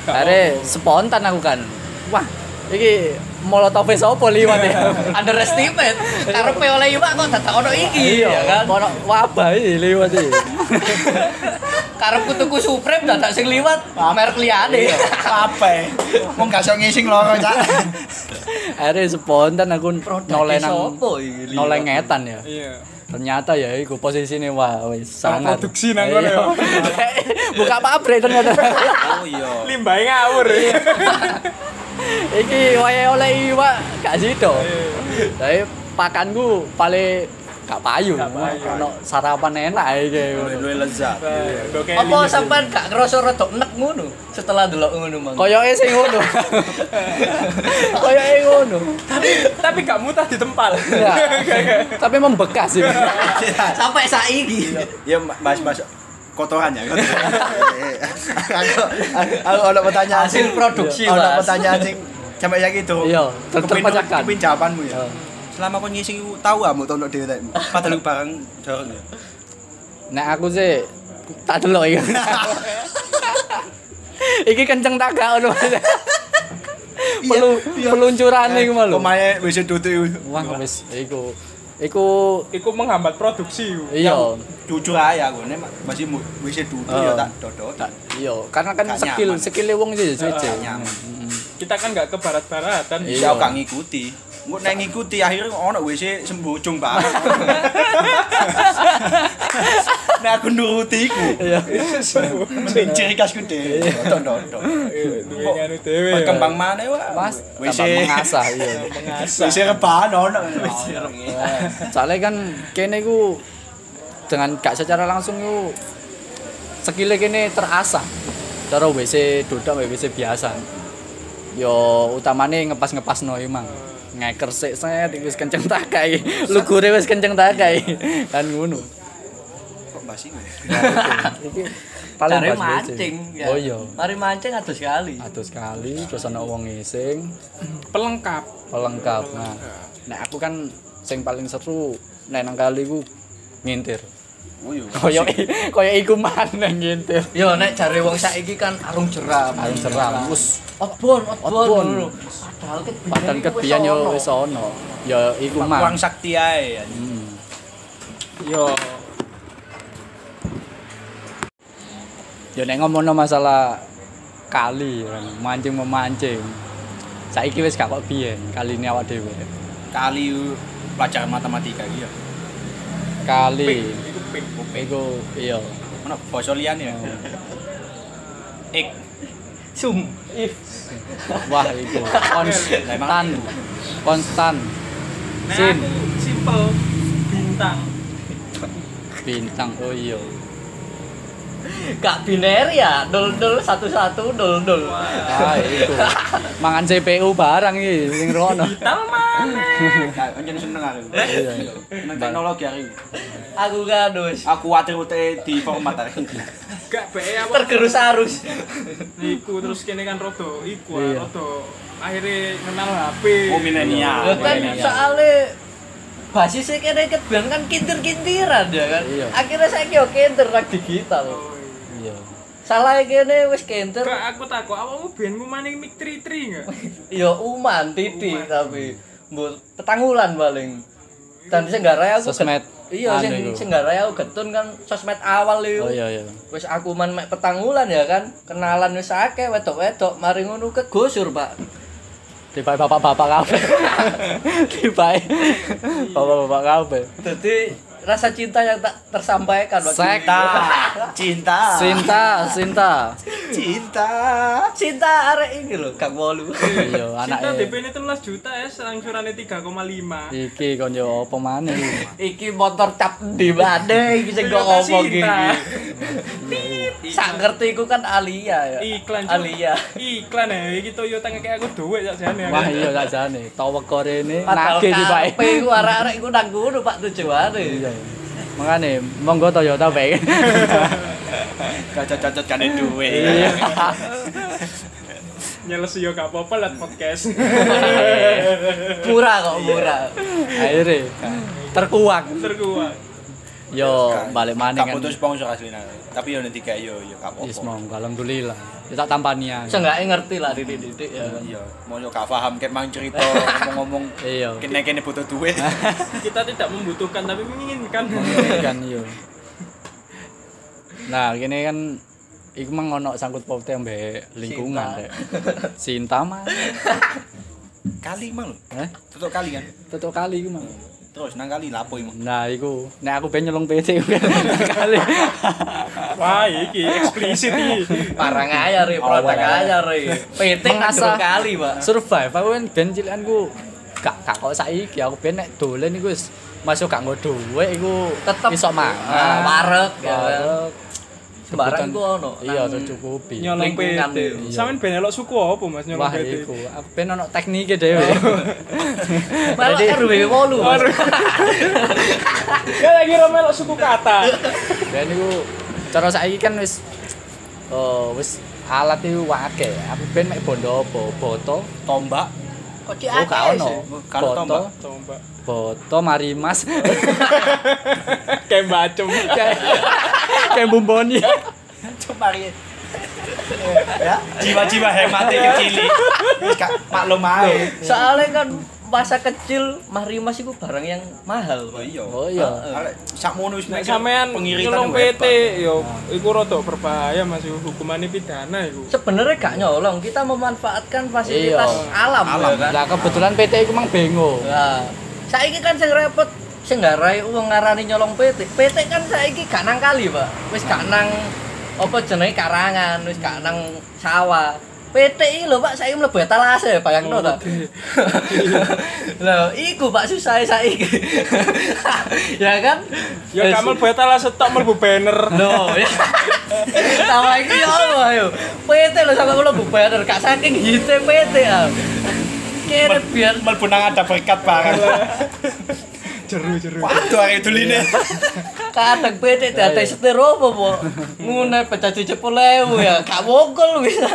[SPEAKER 2] Are spontan aku kan. Wah, iki molotov sapa liwat ya?
[SPEAKER 1] Iya.
[SPEAKER 3] Underestimate. Karepe oleh iwak kok dadak ono iki
[SPEAKER 1] Iya
[SPEAKER 3] ya kan.
[SPEAKER 2] Iya, Ono wabah iki liwat iki.
[SPEAKER 3] Karepku tuku Supreme dadak sing liwat merek liyane.
[SPEAKER 4] Apa ya? Wong gak iso ngising loro, Cak.
[SPEAKER 2] Akhirnya spontan aku noleh nang
[SPEAKER 3] Sopo iki? liwat?
[SPEAKER 2] noleh ngetan ya.
[SPEAKER 1] Iya.
[SPEAKER 2] Ternyata ya iku posisine wah wis
[SPEAKER 1] Orang
[SPEAKER 2] sangat Iya.
[SPEAKER 1] produksi nang kono ya.
[SPEAKER 2] Buka pabrik ternyata.
[SPEAKER 4] Oh iya.
[SPEAKER 1] Limbahe ngawur.
[SPEAKER 2] Iya.
[SPEAKER 1] ya. Iya.
[SPEAKER 2] Iki wayahe oleh iwak gak sido. Tapi pakanku paling gak payu.
[SPEAKER 1] Gak payu.
[SPEAKER 2] Ono sarapan enak ae kayak ngono.
[SPEAKER 4] Luwih lezat.
[SPEAKER 1] Iya.
[SPEAKER 3] Apa sampean gak ngerasa rada enek ngono setelah delok ngono mang?
[SPEAKER 2] Koyoke sing ngono. Koyoke ngono.
[SPEAKER 1] tapi tapi gak mutah di tempal
[SPEAKER 2] Iya. Tapi membekas sih.
[SPEAKER 3] Sampai saiki.
[SPEAKER 4] Ya Mas Mas kotoran ya. kotoran. Aku aku ada pertanyaan
[SPEAKER 3] Hasil
[SPEAKER 4] sing-
[SPEAKER 3] produksi,
[SPEAKER 4] Ada
[SPEAKER 3] Mas.
[SPEAKER 4] pertanyaan sing sampai saiki itu.
[SPEAKER 2] Iya, ter- terpecahkan.
[SPEAKER 4] Kepin jawabanmu
[SPEAKER 2] Iya.
[SPEAKER 4] ya. Selama kau ngisi ku tahu kamu tahu dhewe tekmu. Padahal ku bareng dorong ya.
[SPEAKER 2] Nek aku sih tak delok iki. Iki kenceng tak gak ngono. Pelu peluncuran iku malu.
[SPEAKER 4] Pemain wis dudu
[SPEAKER 2] Wah wis iku. Iku
[SPEAKER 1] Iku menghambat produksi
[SPEAKER 2] iya.
[SPEAKER 4] jujur aja aku nek masih mu- wis dudu
[SPEAKER 2] Oh.
[SPEAKER 4] ya tak dodot.
[SPEAKER 2] Tak- Iya, karena kan
[SPEAKER 4] Gak
[SPEAKER 2] skill
[SPEAKER 4] nyaman.
[SPEAKER 2] skillnya wong sih
[SPEAKER 4] Gak
[SPEAKER 2] cece.
[SPEAKER 4] nyaman.
[SPEAKER 1] kita kan nggak ke barat-baratan
[SPEAKER 2] Iya.
[SPEAKER 4] Ya aku gak ngikuti. Engko nek ngikuti akhirnya ono WC sembojong Pak. Nek aku nuruti iku.
[SPEAKER 2] Iya.
[SPEAKER 4] Mending ciri khasku dhewe. Tonton-tonton.
[SPEAKER 1] duwe nganu dhewe
[SPEAKER 4] Berkembang mana ya?
[SPEAKER 2] Mas,
[SPEAKER 4] WC
[SPEAKER 2] tambah mengasah iya.
[SPEAKER 1] mengasah
[SPEAKER 4] WC rebahan ono. WC rebahan.
[SPEAKER 2] Soalnya kan kene ku dengan gak secara langsung ku skillnya kene terasah. Cara WC dodok mbek WC biasa. Yo utamane ngepas-ngepas no emang. Ngeker sik set iki wis kenceng tak kae. Lugure wis kenceng tak kae. Kan ngono.
[SPEAKER 4] Kok basi gue?
[SPEAKER 2] Iki
[SPEAKER 3] Cari
[SPEAKER 2] pas WC.
[SPEAKER 3] mancing. ya.
[SPEAKER 2] Oh iya.
[SPEAKER 3] Mari mancing ada sekali.
[SPEAKER 2] Aduh sekali terus ana wong ngising.
[SPEAKER 1] pelengkap
[SPEAKER 2] pelengkap nah nah aku kan sing paling seru nek nang kali ku ngintir
[SPEAKER 4] Oh iya.
[SPEAKER 2] koyo koyo iku maneh ngintir
[SPEAKER 3] Yo nek jare wong saiki kan arung jeram.
[SPEAKER 2] paling seram wis
[SPEAKER 3] Outbound,
[SPEAKER 2] Outbound.
[SPEAKER 3] outbound. Padahal ket
[SPEAKER 2] padan kebian yo wis ono ya iku mah
[SPEAKER 4] Kurang sakti ae.
[SPEAKER 2] Hmm.
[SPEAKER 1] yo
[SPEAKER 2] yo nek ngomongno masalah kali kan mancing memancing saiki wis gak kok biyen kali ini awak dhewe
[SPEAKER 4] Kali pelajaran matematika iya.
[SPEAKER 1] pik
[SPEAKER 2] kali
[SPEAKER 1] iku pik
[SPEAKER 2] iku iya
[SPEAKER 4] Ono basa liyane ya. Ik.
[SPEAKER 3] sum.
[SPEAKER 2] wah iku konstan konstan
[SPEAKER 1] Nah,
[SPEAKER 2] sin
[SPEAKER 1] aku simple bintang
[SPEAKER 2] bintang oh iya
[SPEAKER 3] Gak biner ya, dol dol satu satu dol dol.
[SPEAKER 2] Ah, itu. Mangan CPU barang iki sing rono.
[SPEAKER 1] bintang mana
[SPEAKER 4] Anjen Nah, seneng aku.
[SPEAKER 2] Iya.
[SPEAKER 4] Seneng teknologi hari ini.
[SPEAKER 3] Aku kan dus
[SPEAKER 4] Aku khawatir ute di format hari ini.
[SPEAKER 1] gak be apa
[SPEAKER 3] tergerus arus.
[SPEAKER 1] iku terus kene kan rodo iku ah,
[SPEAKER 2] Iya.
[SPEAKER 1] rodo akhirnya kenal HP
[SPEAKER 4] Oh milenial.
[SPEAKER 3] Lah kan
[SPEAKER 4] milenial.
[SPEAKER 3] soalnya basisnya kene ket bang kan kintir-kintiran ya kan.
[SPEAKER 2] Iya.
[SPEAKER 3] Akhirnya saya yo kintir rak digital.
[SPEAKER 1] Oh, iya.
[SPEAKER 2] Iya.
[SPEAKER 3] Salah kene wis kintir
[SPEAKER 1] Kak, aku takut, awakmu biyen ku maning mik tri-tri enggak?
[SPEAKER 3] yo uman titik tapi mbok petangulan paling. Dan sing garai aku get-
[SPEAKER 2] Sosmed. Anu
[SPEAKER 3] Iya sing
[SPEAKER 2] iku.
[SPEAKER 3] sing garai aku getun kan sosmed awal yo.
[SPEAKER 2] Oh iya iya.
[SPEAKER 3] Wis aku man mek petangulan ya kan. Kenalan wis akeh wedok-wedok mari ngono kegusur, Pak.
[SPEAKER 2] Tiba bapak-bapak kabeh. Tiba bapak-bapak kabeh.
[SPEAKER 3] Jadi rasa cinta yang tak tersampaikan waktu
[SPEAKER 2] Sek.
[SPEAKER 3] itu.
[SPEAKER 4] cinta cinta
[SPEAKER 2] Sinta, Sinta.
[SPEAKER 4] cinta
[SPEAKER 3] Cinta arek iki lho, Kang Wolu.
[SPEAKER 2] Iya,
[SPEAKER 1] Cinta DP
[SPEAKER 2] anake
[SPEAKER 1] ini 13 juta ya, selangcurannya 3,5
[SPEAKER 2] iki kon yo opo maneh.
[SPEAKER 3] iki motor cap di mana iki sing kok
[SPEAKER 1] Toyota
[SPEAKER 3] ngomong iki.
[SPEAKER 1] Cinta.
[SPEAKER 3] Sak ngerti ku kan Alia ya.
[SPEAKER 1] Iklan Cuk.
[SPEAKER 3] Alia.
[SPEAKER 1] Iklan ya, iki Toyota kayak aku duit sak jane.
[SPEAKER 2] Wah iya sakjane. Towek korene
[SPEAKER 3] Padahal
[SPEAKER 2] nagih tiba.
[SPEAKER 3] KP ku arek-arek ku nang ngono Pak
[SPEAKER 2] Iya.
[SPEAKER 3] tujuane.
[SPEAKER 2] Mangane monggo Toyota bae.
[SPEAKER 4] cocok-cocok kan duwe
[SPEAKER 2] Iya.
[SPEAKER 1] Nyelesi yo gak apa-apa lah podcast.
[SPEAKER 3] Murah kok murah.
[SPEAKER 2] Akhire terkuak.
[SPEAKER 1] Terkuat.
[SPEAKER 2] Yo balik maneh
[SPEAKER 4] tak
[SPEAKER 2] kan. Iya,
[SPEAKER 4] butuh sponsor asli nah tapi yo nanti kayak yo yo gak
[SPEAKER 2] Yes,
[SPEAKER 4] apa-apa
[SPEAKER 2] monggo alhamdulillah. Kita tampania.
[SPEAKER 3] Seenggaknya ngerti lah didik-didik ya.
[SPEAKER 4] iya mau yo gak paham kayak mang cerita ngomong-ngomong
[SPEAKER 2] Iya.
[SPEAKER 4] kene kene butuh duit
[SPEAKER 1] Kita tidak membutuhkan tapi menginginkan.
[SPEAKER 2] kan yo. Nah, kene kan iku mang ono sangkut pautnya mbek lingkungan
[SPEAKER 3] Cinta.
[SPEAKER 2] rek. Cinta mah.
[SPEAKER 4] kali mang lho
[SPEAKER 2] Heh,
[SPEAKER 4] tutup kali kan
[SPEAKER 2] tutuk kali iku mang.
[SPEAKER 4] terus nang kali lapo emang
[SPEAKER 2] Nah, iku nek aku ben nyelung PC iku kali.
[SPEAKER 1] Wah, iki eksplisit iki.
[SPEAKER 3] Parang aja ri, produk aja ri. PT kan
[SPEAKER 2] Mengasah.
[SPEAKER 3] dua kali, Pak.
[SPEAKER 2] Survive aku kan ben cilikanku gak gak kok saiki aku ben nek dolen iku wis masuk gak nggo dhuwit iku
[SPEAKER 3] Tetep
[SPEAKER 2] iso
[SPEAKER 3] ah,
[SPEAKER 2] mangan.
[SPEAKER 3] wareg, ya kan.
[SPEAKER 2] Wareg.
[SPEAKER 3] Sembarang
[SPEAKER 2] Kebutuhan-
[SPEAKER 3] ku ono,
[SPEAKER 2] Iya,
[SPEAKER 3] nang-
[SPEAKER 2] tercukupi.
[SPEAKER 1] nyolong
[SPEAKER 3] Lingkungan
[SPEAKER 1] PT.
[SPEAKER 3] deh.
[SPEAKER 1] Sampeyan ben elok suku apa Mas nyolong
[SPEAKER 2] Wah,
[SPEAKER 1] PT?
[SPEAKER 2] iku ben ono teknike dhewe.
[SPEAKER 3] Oh. Malah
[SPEAKER 2] Jadi-
[SPEAKER 3] RW 8. kan Mas.
[SPEAKER 1] Ya lagi ra melok suku kata.
[SPEAKER 2] Dan iku cara saiki kan wis eh wis alat itu akeh. Aku ben mek bondo apa boto,
[SPEAKER 4] tombak
[SPEAKER 3] Kok di
[SPEAKER 2] oh gak
[SPEAKER 3] akeh
[SPEAKER 2] ono.
[SPEAKER 3] sih?
[SPEAKER 4] Karo
[SPEAKER 2] Boto,
[SPEAKER 4] tombak.
[SPEAKER 1] Coba.
[SPEAKER 2] boto mari mas.
[SPEAKER 1] Kayak bacem.
[SPEAKER 2] Kayak bumboni.
[SPEAKER 4] cuma ya ya jiwa-jiwa hemat kecil maklum ae
[SPEAKER 3] Soalnya kan masa kecil Mahrimas itu barang yang mahal, Pak.
[SPEAKER 4] iya
[SPEAKER 2] Oh iya.
[SPEAKER 4] Arek sakmono wis
[SPEAKER 1] Nek
[SPEAKER 4] mikir
[SPEAKER 1] sampean
[SPEAKER 4] pengiritan
[SPEAKER 1] nyolong
[SPEAKER 4] hebat.
[SPEAKER 1] PT yo iku rada berbahaya Mas yo. hukumane pidana iku.
[SPEAKER 3] Sebenarnya gak nyolong, kita memanfaatkan fasilitas
[SPEAKER 2] Iya.
[SPEAKER 3] alam,
[SPEAKER 4] Alam,
[SPEAKER 3] ya kan.
[SPEAKER 2] Lah kebetulan PT iku mang bengo.
[SPEAKER 3] Nah, saiki kan sing repot sing ngarai wong ngarani nyolong PT. PT kan saiki gak nang kali, Pak. Wis gak nang apa jenenge karangan, wis gak nang sawah. PT iki lho Pak saiki mlebu etalase, bayangno ta. Lho, iku Pak susah saiki. ya kan?
[SPEAKER 1] Ya
[SPEAKER 2] Eh,
[SPEAKER 3] Wis.
[SPEAKER 1] kamu beta lah stok mlebu banner.
[SPEAKER 3] Loh, ya. Sama iki ya Allah yo. PT lho sampe kula bubar, gak saking hite PT ah. Kene biar
[SPEAKER 4] Mlebu nang ada berkat barang
[SPEAKER 1] Jeru-jeru.
[SPEAKER 4] waduh arek duline
[SPEAKER 3] kadang bete diadai setir apa po ngune pecah cuci pulewu ya gak wongkol bisa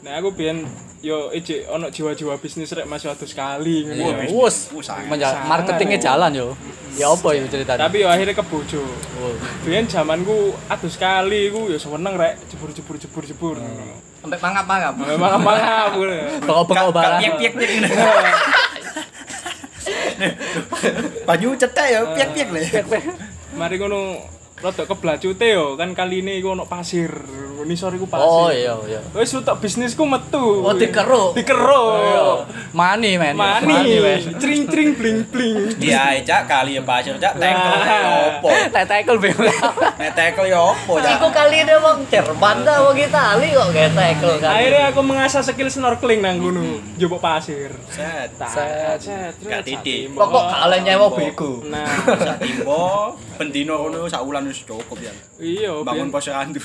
[SPEAKER 1] Nah aku biyen yo ijik ono jiwa-jiwa bisnis rek Mas yo adus sekali
[SPEAKER 2] Iya,
[SPEAKER 1] ngono. yo.
[SPEAKER 2] Wus.
[SPEAKER 4] Wus, sangat.
[SPEAKER 2] Menja-
[SPEAKER 1] Sangat.
[SPEAKER 2] Marketingnya jalan yo. Ya apa yo ceritanya?
[SPEAKER 1] Tapi yo akhirnya kebojo.
[SPEAKER 2] Wah.
[SPEAKER 1] Biyen zamanku adus sekali iku yo seneng rek jebur-jebur jebur-jebur.
[SPEAKER 2] Hmm.
[SPEAKER 3] sampai mangap mangap
[SPEAKER 1] Memang apa aku.
[SPEAKER 2] Bengok-bengok barang.
[SPEAKER 4] piek-piek piek Banyu cetek ya piek-piek lho.
[SPEAKER 1] Mari ngono rada keblacute yo kan kaline iku ono pasir. Nisor iku pasir.
[SPEAKER 2] Oh iya iya.
[SPEAKER 1] Wis utek bisnisku metu.
[SPEAKER 3] oh dikero
[SPEAKER 1] Dikero.
[SPEAKER 2] Mani men.
[SPEAKER 1] Mani.
[SPEAKER 2] men.
[SPEAKER 1] Cring-cring bling-bling.
[SPEAKER 4] Dia ae, cak kali ya pasir cak tekel
[SPEAKER 1] Nah.
[SPEAKER 4] ya opo.
[SPEAKER 2] Tak tackle bengo.
[SPEAKER 4] Nek tekel ya opo cak.
[SPEAKER 3] Iku kali ini wong Jerman ta wong Itali kok kayak tackle kan.
[SPEAKER 1] Akhirnya aku mengasah skill snorkeling nang gunung, jebok pasir.
[SPEAKER 4] Set.
[SPEAKER 2] Set.
[SPEAKER 1] Gak
[SPEAKER 4] titik.
[SPEAKER 3] Pokok gak oleh nyewa bego.
[SPEAKER 1] Nah,
[SPEAKER 4] Sak timbo bendino ngono sak wulan wis cukup ya.
[SPEAKER 1] iya
[SPEAKER 4] Bangun
[SPEAKER 1] biyen-
[SPEAKER 4] pos randu.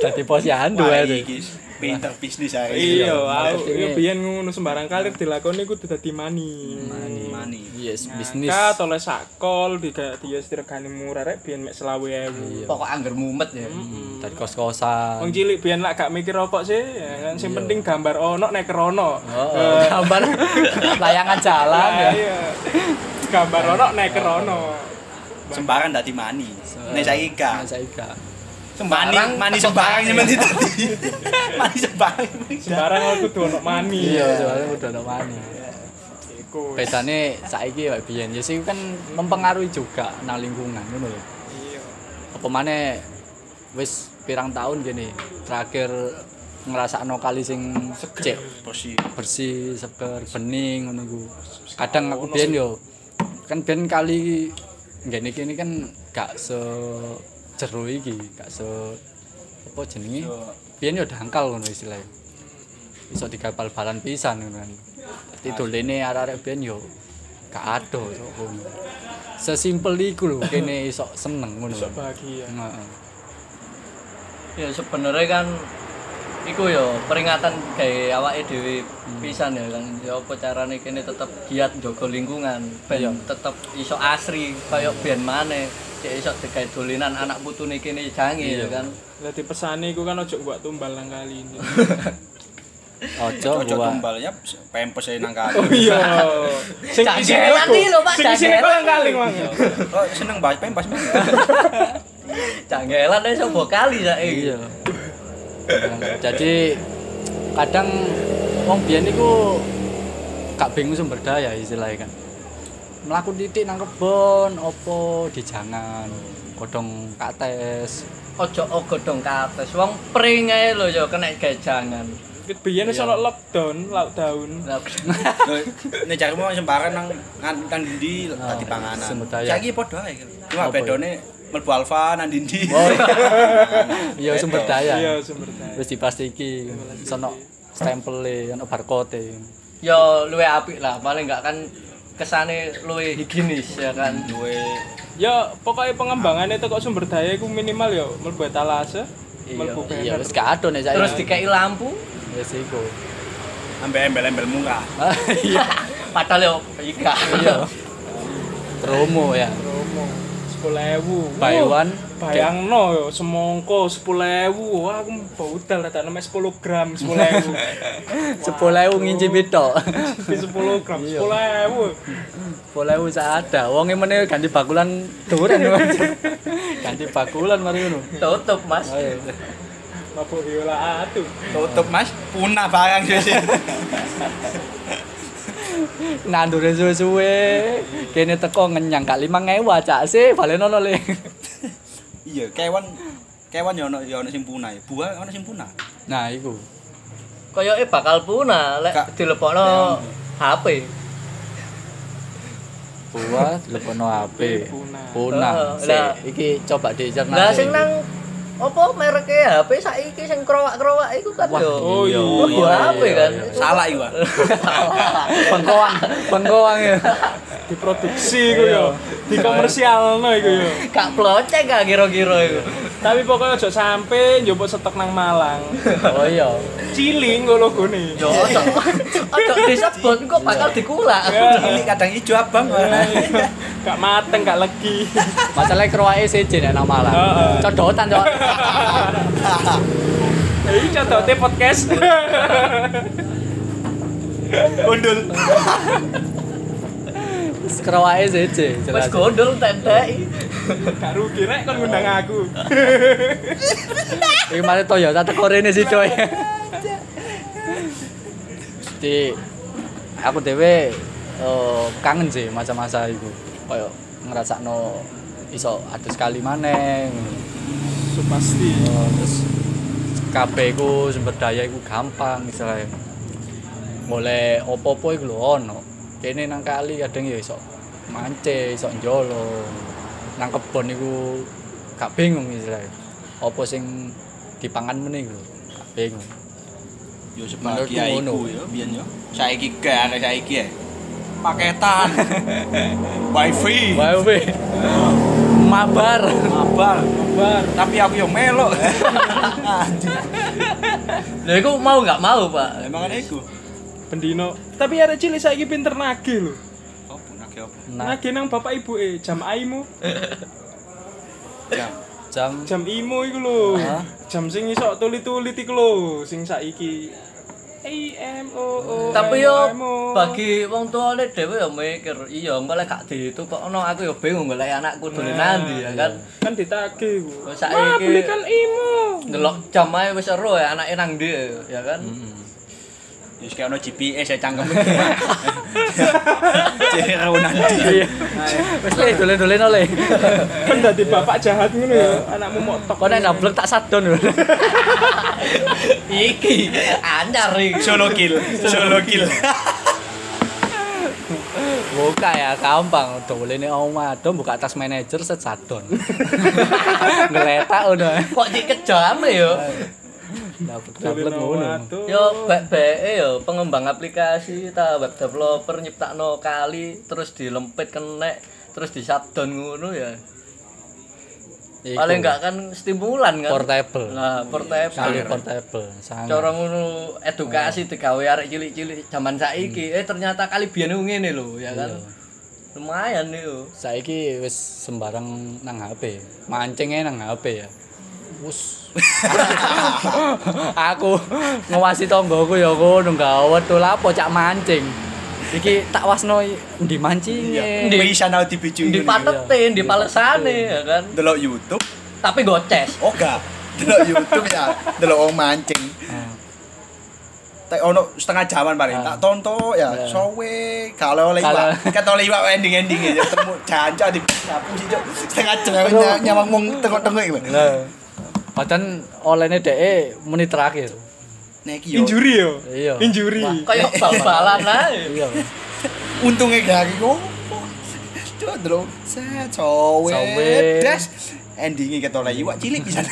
[SPEAKER 2] Dadi posyandu ya.
[SPEAKER 4] Wah, iki pinter bisnis ae.
[SPEAKER 1] Iya, aku
[SPEAKER 2] marketingnya.
[SPEAKER 1] iya biyen ngono sembarang kalir dilakoni kudu dadi mani.
[SPEAKER 4] Mani.
[SPEAKER 2] Yes, bisnis.
[SPEAKER 1] Bisnis. Ka tole sakol diga dia stirgane murah rek biyen mek 20.000.
[SPEAKER 3] Pokok angger mumet ya.
[SPEAKER 2] Hmm, Dari
[SPEAKER 1] Wong
[SPEAKER 2] kos-kosan.
[SPEAKER 1] cilik biyen lak gak mikir rokok sih, ya kan sing penting gambar ono nek kerono. Eh,
[SPEAKER 2] Oh, gambar layangan jalan ya.
[SPEAKER 1] Lah, iya. Gambar ono nek kerono.
[SPEAKER 4] Sembarang dadi mani. Nek saiki
[SPEAKER 2] Nah,
[SPEAKER 4] gak.
[SPEAKER 2] saya gak.
[SPEAKER 4] Mani,
[SPEAKER 3] Sembarang
[SPEAKER 4] mani
[SPEAKER 3] tepok
[SPEAKER 4] sembarang
[SPEAKER 3] tangan.
[SPEAKER 4] nyemen tadi. Mani sembarang.
[SPEAKER 1] Sembarang aku kudu ono mani.
[SPEAKER 2] Iya, soalnya udah ada mani.
[SPEAKER 1] Iku.
[SPEAKER 2] Bedane saiki wae biyen ya sih kan mempengaruhi juga nang lingkungan ngono lho.
[SPEAKER 1] Iya.
[SPEAKER 2] Apa maneh wis pirang tahun gini terakhir ngrasakno kali sing cek
[SPEAKER 4] Posi.
[SPEAKER 2] bersih, seger, bening ngono iku. Kadang aku biyen yo kan biyen kali ngene iki ini kan gak se jero iki, gak se apa jenenge? Biyen yo dangkal ngono istilahnya. Iso digapal balan pisan ngono kan. Dadi dolene arek-arek biyen yo gak ado sok ngono. Sesimpel iku lho kene iso seneng ngono.
[SPEAKER 1] Sok bahagia.
[SPEAKER 2] Heeh.
[SPEAKER 3] Ya sebenarnya kan iku yo peringatan kayak awake dhewe
[SPEAKER 2] Hmm.
[SPEAKER 3] pisan ya kan. Ya apa carane kene tetep giat jaga lingkungan
[SPEAKER 2] Iya.
[SPEAKER 3] ben tetep iso asri kaya ben maneh. Cek iso digawe dolinan anak putune kene jange ya
[SPEAKER 2] Iya.
[SPEAKER 3] kan.
[SPEAKER 1] Lah dipesani iku kan ojo buat tumbal nang kali ini.
[SPEAKER 2] Ojo
[SPEAKER 4] Ojo
[SPEAKER 2] buah.
[SPEAKER 4] tumbalnya pempes ae nang
[SPEAKER 1] Oh
[SPEAKER 4] kali.
[SPEAKER 1] iya. Sing
[SPEAKER 3] Cak
[SPEAKER 1] isine
[SPEAKER 3] Jelan
[SPEAKER 1] aku.
[SPEAKER 3] iki lho, Pak,
[SPEAKER 1] Sing
[SPEAKER 3] Cak
[SPEAKER 1] isine kok
[SPEAKER 3] Jelan.
[SPEAKER 1] nang kali mang.
[SPEAKER 4] Oh, seneng bahas pempes. Bang.
[SPEAKER 3] Janggelan ae sobo kali saiki.
[SPEAKER 2] iya Nah, jadi kadang wong biyen niku gak bingung sumber daya istilahnya kan melaku titik nang kebon opo dijangan kodong kates
[SPEAKER 3] Ojo godhong kates. Wong pring ae lho ya kena gawe jangan.
[SPEAKER 1] Biyen wis ono lockdown, lockdown.
[SPEAKER 3] Lah,
[SPEAKER 4] Nek carimu sembarang nang nang nang ndi tadi panganan.
[SPEAKER 2] sumber daya.
[SPEAKER 4] Saiki padha ae. Cuma
[SPEAKER 2] Oh, Apa ya?
[SPEAKER 4] bedone mlebu alfa nang ndi.
[SPEAKER 2] oh iya. iya sumber daya
[SPEAKER 1] Iya sumber daya.
[SPEAKER 2] wis diplastiki sono stempele ono barcode
[SPEAKER 3] ya luwe apik lah paling enggak kan kesane luwe higienis ya kan luwe
[SPEAKER 1] Ya pokoknya pengembangannya itu kok sumber daya iku minimal ya mlebu etalase,
[SPEAKER 3] Iya,
[SPEAKER 1] mlebu
[SPEAKER 2] iya
[SPEAKER 1] banner.
[SPEAKER 2] wis gak ado nek saya
[SPEAKER 3] terus dikei lampu
[SPEAKER 2] wis iku
[SPEAKER 4] Ambil embel-embel murah.
[SPEAKER 2] iya
[SPEAKER 3] padahal yo ika
[SPEAKER 2] iya promo ya
[SPEAKER 1] Romo 10.000.
[SPEAKER 2] Oh, buy
[SPEAKER 1] Wah,
[SPEAKER 2] one
[SPEAKER 1] Bayangno yo semongko 10.000. Wah, aku bau dal tak nama 10 gram 10.000.
[SPEAKER 2] sepuluh ewu ngincipi tok
[SPEAKER 1] Di 10 gram 10.000.
[SPEAKER 2] sepuluh ewu sak ada wonge meneh ganti bakulan duren ganti bakulan mari ngono
[SPEAKER 3] tutup mas
[SPEAKER 2] ayo
[SPEAKER 1] Mabuk ya viola atuh.
[SPEAKER 4] Tutup mas, punah barang sih sih.
[SPEAKER 2] nandure suwe-suwe kene teko ngenyang gak 5000 acak sih balen ono le
[SPEAKER 4] Iya, kewan kewan ya ono ya ono sing punah, buah ono sing punah.
[SPEAKER 2] nah iku
[SPEAKER 3] koyoke bakal punah
[SPEAKER 4] Kak.
[SPEAKER 3] lek dilepokno HP
[SPEAKER 2] buah telepono HP
[SPEAKER 1] Punah.
[SPEAKER 2] punah
[SPEAKER 3] Oh,
[SPEAKER 2] sih
[SPEAKER 3] lah.
[SPEAKER 2] iki coba dicerna
[SPEAKER 3] lah
[SPEAKER 2] sih.
[SPEAKER 3] sing nang opo mereke HP saiki sing krowak-krowak iku kan
[SPEAKER 2] Wah,
[SPEAKER 3] yo
[SPEAKER 1] Oh iya.
[SPEAKER 3] Oh, buah HP kan
[SPEAKER 4] Salah iku. Pak.
[SPEAKER 2] pengkoang pengkoang ya
[SPEAKER 1] Diproduksi iku yo. ya. Dikomersialno iku yo.
[SPEAKER 3] gak plocek gak kira-kira iku
[SPEAKER 1] Tapi pokoknya ojo sampe njupuk stok nang Malang.
[SPEAKER 2] oh iya
[SPEAKER 1] Ciling kok logone.
[SPEAKER 3] yo ojo ojo disebut kok bakal dikulak
[SPEAKER 4] Cilik kadang ijo abang.
[SPEAKER 1] Gak mateng, gak legi.
[SPEAKER 2] masalah kroake sejen nek nang Malang
[SPEAKER 1] Heeh.
[SPEAKER 2] codotan cok
[SPEAKER 1] Ini contohnya Ya podcast.
[SPEAKER 4] Gondol.
[SPEAKER 2] kroake sejen
[SPEAKER 3] wis
[SPEAKER 2] jelas
[SPEAKER 3] gondol tendai
[SPEAKER 1] Gak rugi rek kon ngundang aku.
[SPEAKER 2] iki mari Toyota teko rene sih coy di aku dhewe eh, kangen sih masa-masa iku koyo ngrasakno iso adus kali maneh
[SPEAKER 1] So, pasti.
[SPEAKER 2] Eh, terus kabeh iku sumber daya iku gampang istilahnya boleh opo-opo iku lho ono kene nang kali kadang ya iso mance iso njolo nang kebon iku gak bingung istilahnya opo sing dipangan meneh iku lho gak bingung
[SPEAKER 4] Yo
[SPEAKER 2] Menurutku
[SPEAKER 4] sebagai iku
[SPEAKER 2] ngono.
[SPEAKER 4] yo biyen yo. Saiki gak arek saiki ya. Paketan. Wifi.
[SPEAKER 2] wae we mabar
[SPEAKER 4] Abang,
[SPEAKER 1] Bar.
[SPEAKER 4] tapi aku yo melok. Anjir.
[SPEAKER 3] lha iku mau gak mau pak
[SPEAKER 4] Emang ada iku.
[SPEAKER 1] Pendino. Tapi arek cilik saiki pinter nagih lho.
[SPEAKER 4] Opo nake opo.
[SPEAKER 2] nah
[SPEAKER 1] Nagih nang bapak ibuke, jam aimu,
[SPEAKER 4] Ya.
[SPEAKER 2] jam
[SPEAKER 1] jam imu iku lho.
[SPEAKER 2] Hah?
[SPEAKER 1] Jam sing iso tuli-tuli iku lho, sing saiki. I M O O. M O
[SPEAKER 3] tapi yo
[SPEAKER 1] M O.
[SPEAKER 3] bagi wong tuane dhewe yo mikir iya engko lek gak ditukokno aku yo bingung lek anakku dolen nanti ya kan
[SPEAKER 1] kan ditagih ku.
[SPEAKER 3] Kok saiki-
[SPEAKER 1] Wah, belikan imu.
[SPEAKER 3] ndelok jam ae wis ero ya anake nang ndi ya kan
[SPEAKER 4] Yo kayak ono GPS ya cangkem. Jadi rawan nanti.
[SPEAKER 2] wis le dolen-dolen oleh
[SPEAKER 1] Kan dadi bapak jahat ngono ya, anakmu mok tok.
[SPEAKER 2] kok nek nablek tak sadon lho
[SPEAKER 3] iki anyar iki
[SPEAKER 4] Solo kill, solo kill.
[SPEAKER 2] Buka ya, gampang. Dolene omah, dong buka tas manajer set sadon. Ngeletak udah.
[SPEAKER 3] kok iki kejame yo
[SPEAKER 2] Dapat dapat ngono.
[SPEAKER 3] yo bek-beke yo pengembang aplikasi ta web developer nyiptakno kali terus dilempit kenek terus disadon ngono ya
[SPEAKER 2] Iku,
[SPEAKER 3] paling enggak kan stimulan kan
[SPEAKER 2] portable.
[SPEAKER 3] nah
[SPEAKER 2] Kali
[SPEAKER 3] portable
[SPEAKER 2] portable. Sangat.
[SPEAKER 3] cara ngono edukasi digawe arek cilik-cilik zaman saiki
[SPEAKER 2] Hmm.
[SPEAKER 3] eh ternyata kali biyen ngene lho ya kan lumayan yo
[SPEAKER 2] Saiki wis sembarang nang HP. Mancingnya nang HP ya. Wus. aku ngawasi tonggoku ya ngono gawet tuh lapo cak mancing. Iki tak wasno ndi mancinge.
[SPEAKER 4] Bisa nau di biju
[SPEAKER 3] di
[SPEAKER 4] ini.
[SPEAKER 3] patetin, di palesane ya kan.
[SPEAKER 4] Delok YouTube.
[SPEAKER 3] Tapi goces.
[SPEAKER 4] Oh gak. Delok YouTube ya. Delok orang mancing.
[SPEAKER 2] Nah,
[SPEAKER 4] Tak ono setengah jaman paling
[SPEAKER 2] Ah.
[SPEAKER 4] tak tonton ya.
[SPEAKER 2] Ya.
[SPEAKER 4] Sowe kalau oleh
[SPEAKER 2] Kalau-
[SPEAKER 4] Iwak. Kata oleh Iwak ending-ending ya ketemu jancok di sapu sih Cok. setengah jam
[SPEAKER 2] Aduh.
[SPEAKER 4] nyawang mung tengok-tengok iki.
[SPEAKER 2] Lah. Padahal olehne dhek menit terakhir.
[SPEAKER 4] Nek iki yo.
[SPEAKER 1] Injuri yo.
[SPEAKER 2] Iya.
[SPEAKER 1] Injuri.
[SPEAKER 3] Kayak bal-balan ae.
[SPEAKER 2] Iya.
[SPEAKER 4] Untunge gak iki kok. Cok delok set sowe.
[SPEAKER 2] Sowe.
[SPEAKER 4] Das endinge kata oleh Iwak cilik pisan.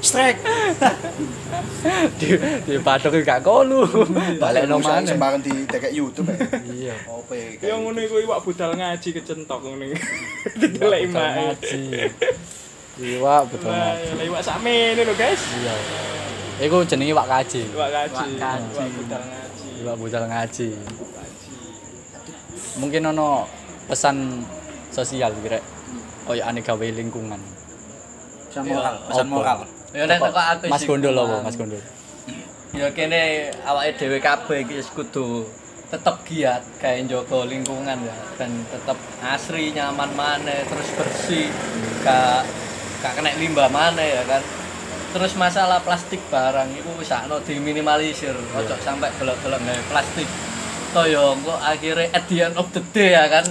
[SPEAKER 4] strike.
[SPEAKER 2] di di padok iki gak kolu balik no
[SPEAKER 4] Bisa
[SPEAKER 2] maneh.
[SPEAKER 4] Sembarang di tekek YouTube. ya.
[SPEAKER 2] iya
[SPEAKER 4] Opo
[SPEAKER 1] Ya ngono iku iwak budal ngaji kecentok ngene. Didelek imae.
[SPEAKER 2] iya betul
[SPEAKER 1] Wah,
[SPEAKER 2] ngaji
[SPEAKER 1] ya, iwak sakmene lho, guys.
[SPEAKER 2] iya iku jenenge wak kaji
[SPEAKER 1] Iwak ngaji.
[SPEAKER 2] Iwak kaji.
[SPEAKER 1] Iwak budal ngaji.
[SPEAKER 2] Iwak budal ngaji mungkin ono pesan sosial Oh, kira koyo aneh gawe lingkungan
[SPEAKER 4] Pesan moral,
[SPEAKER 3] Iya.
[SPEAKER 4] pesan
[SPEAKER 2] Apa?
[SPEAKER 4] moral.
[SPEAKER 3] Ya nek teko aku
[SPEAKER 2] Mas
[SPEAKER 3] sih,
[SPEAKER 2] Gondol
[SPEAKER 3] Mas.
[SPEAKER 2] apa Mas Gondol
[SPEAKER 3] Ya kene awake dhewe kabeh iki wis kudu tetep giat gawe njogo lingkungan ya dan tetep asri nyaman maneh terus bersih gak gak kena limbah maneh ya kan. Terus masalah plastik barang itu wis sakno diminimalisir, ojo sampai belok-belok gawe plastik. Toyo engko akhirnya at the end of the day ya kan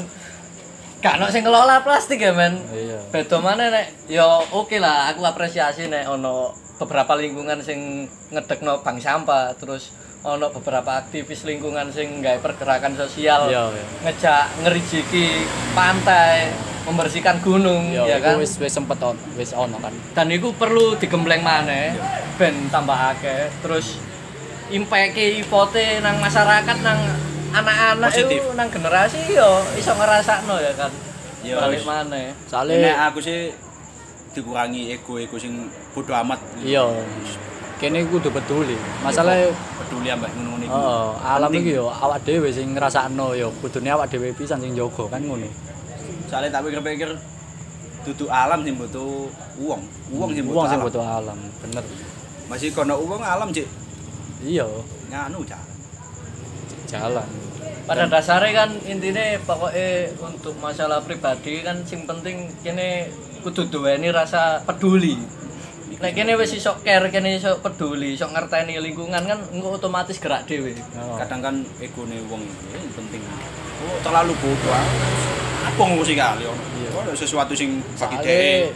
[SPEAKER 3] gak ono sing ngelola plastik ya men.
[SPEAKER 2] iya
[SPEAKER 3] beda mana nek ya oke lah aku apresiasi nek ono beberapa lingkungan sing ngedekno bank sampah terus ono beberapa aktivis lingkungan sing nggawe pergerakan sosial
[SPEAKER 2] iya iya
[SPEAKER 3] ngejak ngerijiki pantai membersihkan gunung
[SPEAKER 2] Yo,
[SPEAKER 3] ya
[SPEAKER 2] iku
[SPEAKER 3] kan
[SPEAKER 2] wis wis sempet on, wis ono kan.
[SPEAKER 3] dan itu perlu digembleng maneh ben tambah akeh terus impact-e ipote nang masyarakat nang anak-anak
[SPEAKER 4] Positif.
[SPEAKER 3] itu nang generasi yo iso ngerasakno ya kan
[SPEAKER 4] Yo,
[SPEAKER 3] balik
[SPEAKER 4] wis.
[SPEAKER 3] maneh
[SPEAKER 4] Nek
[SPEAKER 2] Soale
[SPEAKER 4] aku sih dikurangi ego-ego sing bodoh amat.
[SPEAKER 2] iya kene kudu peduli. Masalahe
[SPEAKER 4] peduli ambek ngono iku.
[SPEAKER 2] heeh, alam
[SPEAKER 4] Penting.
[SPEAKER 2] iki yo awak dhewe sing ngrasakno yo kudune awak dhewe pisan sing jaga kan ngono.
[SPEAKER 4] Soale tak pikir-pikir dudu alam sing butuh uang, uang sing butuh
[SPEAKER 2] Wong sing
[SPEAKER 4] alam.
[SPEAKER 2] butuh alam, bener.
[SPEAKER 4] Masih kono uang alam cik
[SPEAKER 2] Iya,
[SPEAKER 4] nganu cak.
[SPEAKER 2] jalan.
[SPEAKER 3] pada dasarnya kan intinya pokoknya untuk masalah pribadi kan sing penting kene kudu duweni rasa peduli nek kene wis iso care kene iso peduli iso ngerteni lingkungan kan engko otomatis gerak dhewe
[SPEAKER 2] Heeh.
[SPEAKER 4] Kadang kan egone wong ini penting. Oh, terlalu bodoh. Apa ngurusi kali ono? Ono Oh, sesuatu sing bagi dhek
[SPEAKER 2] Soale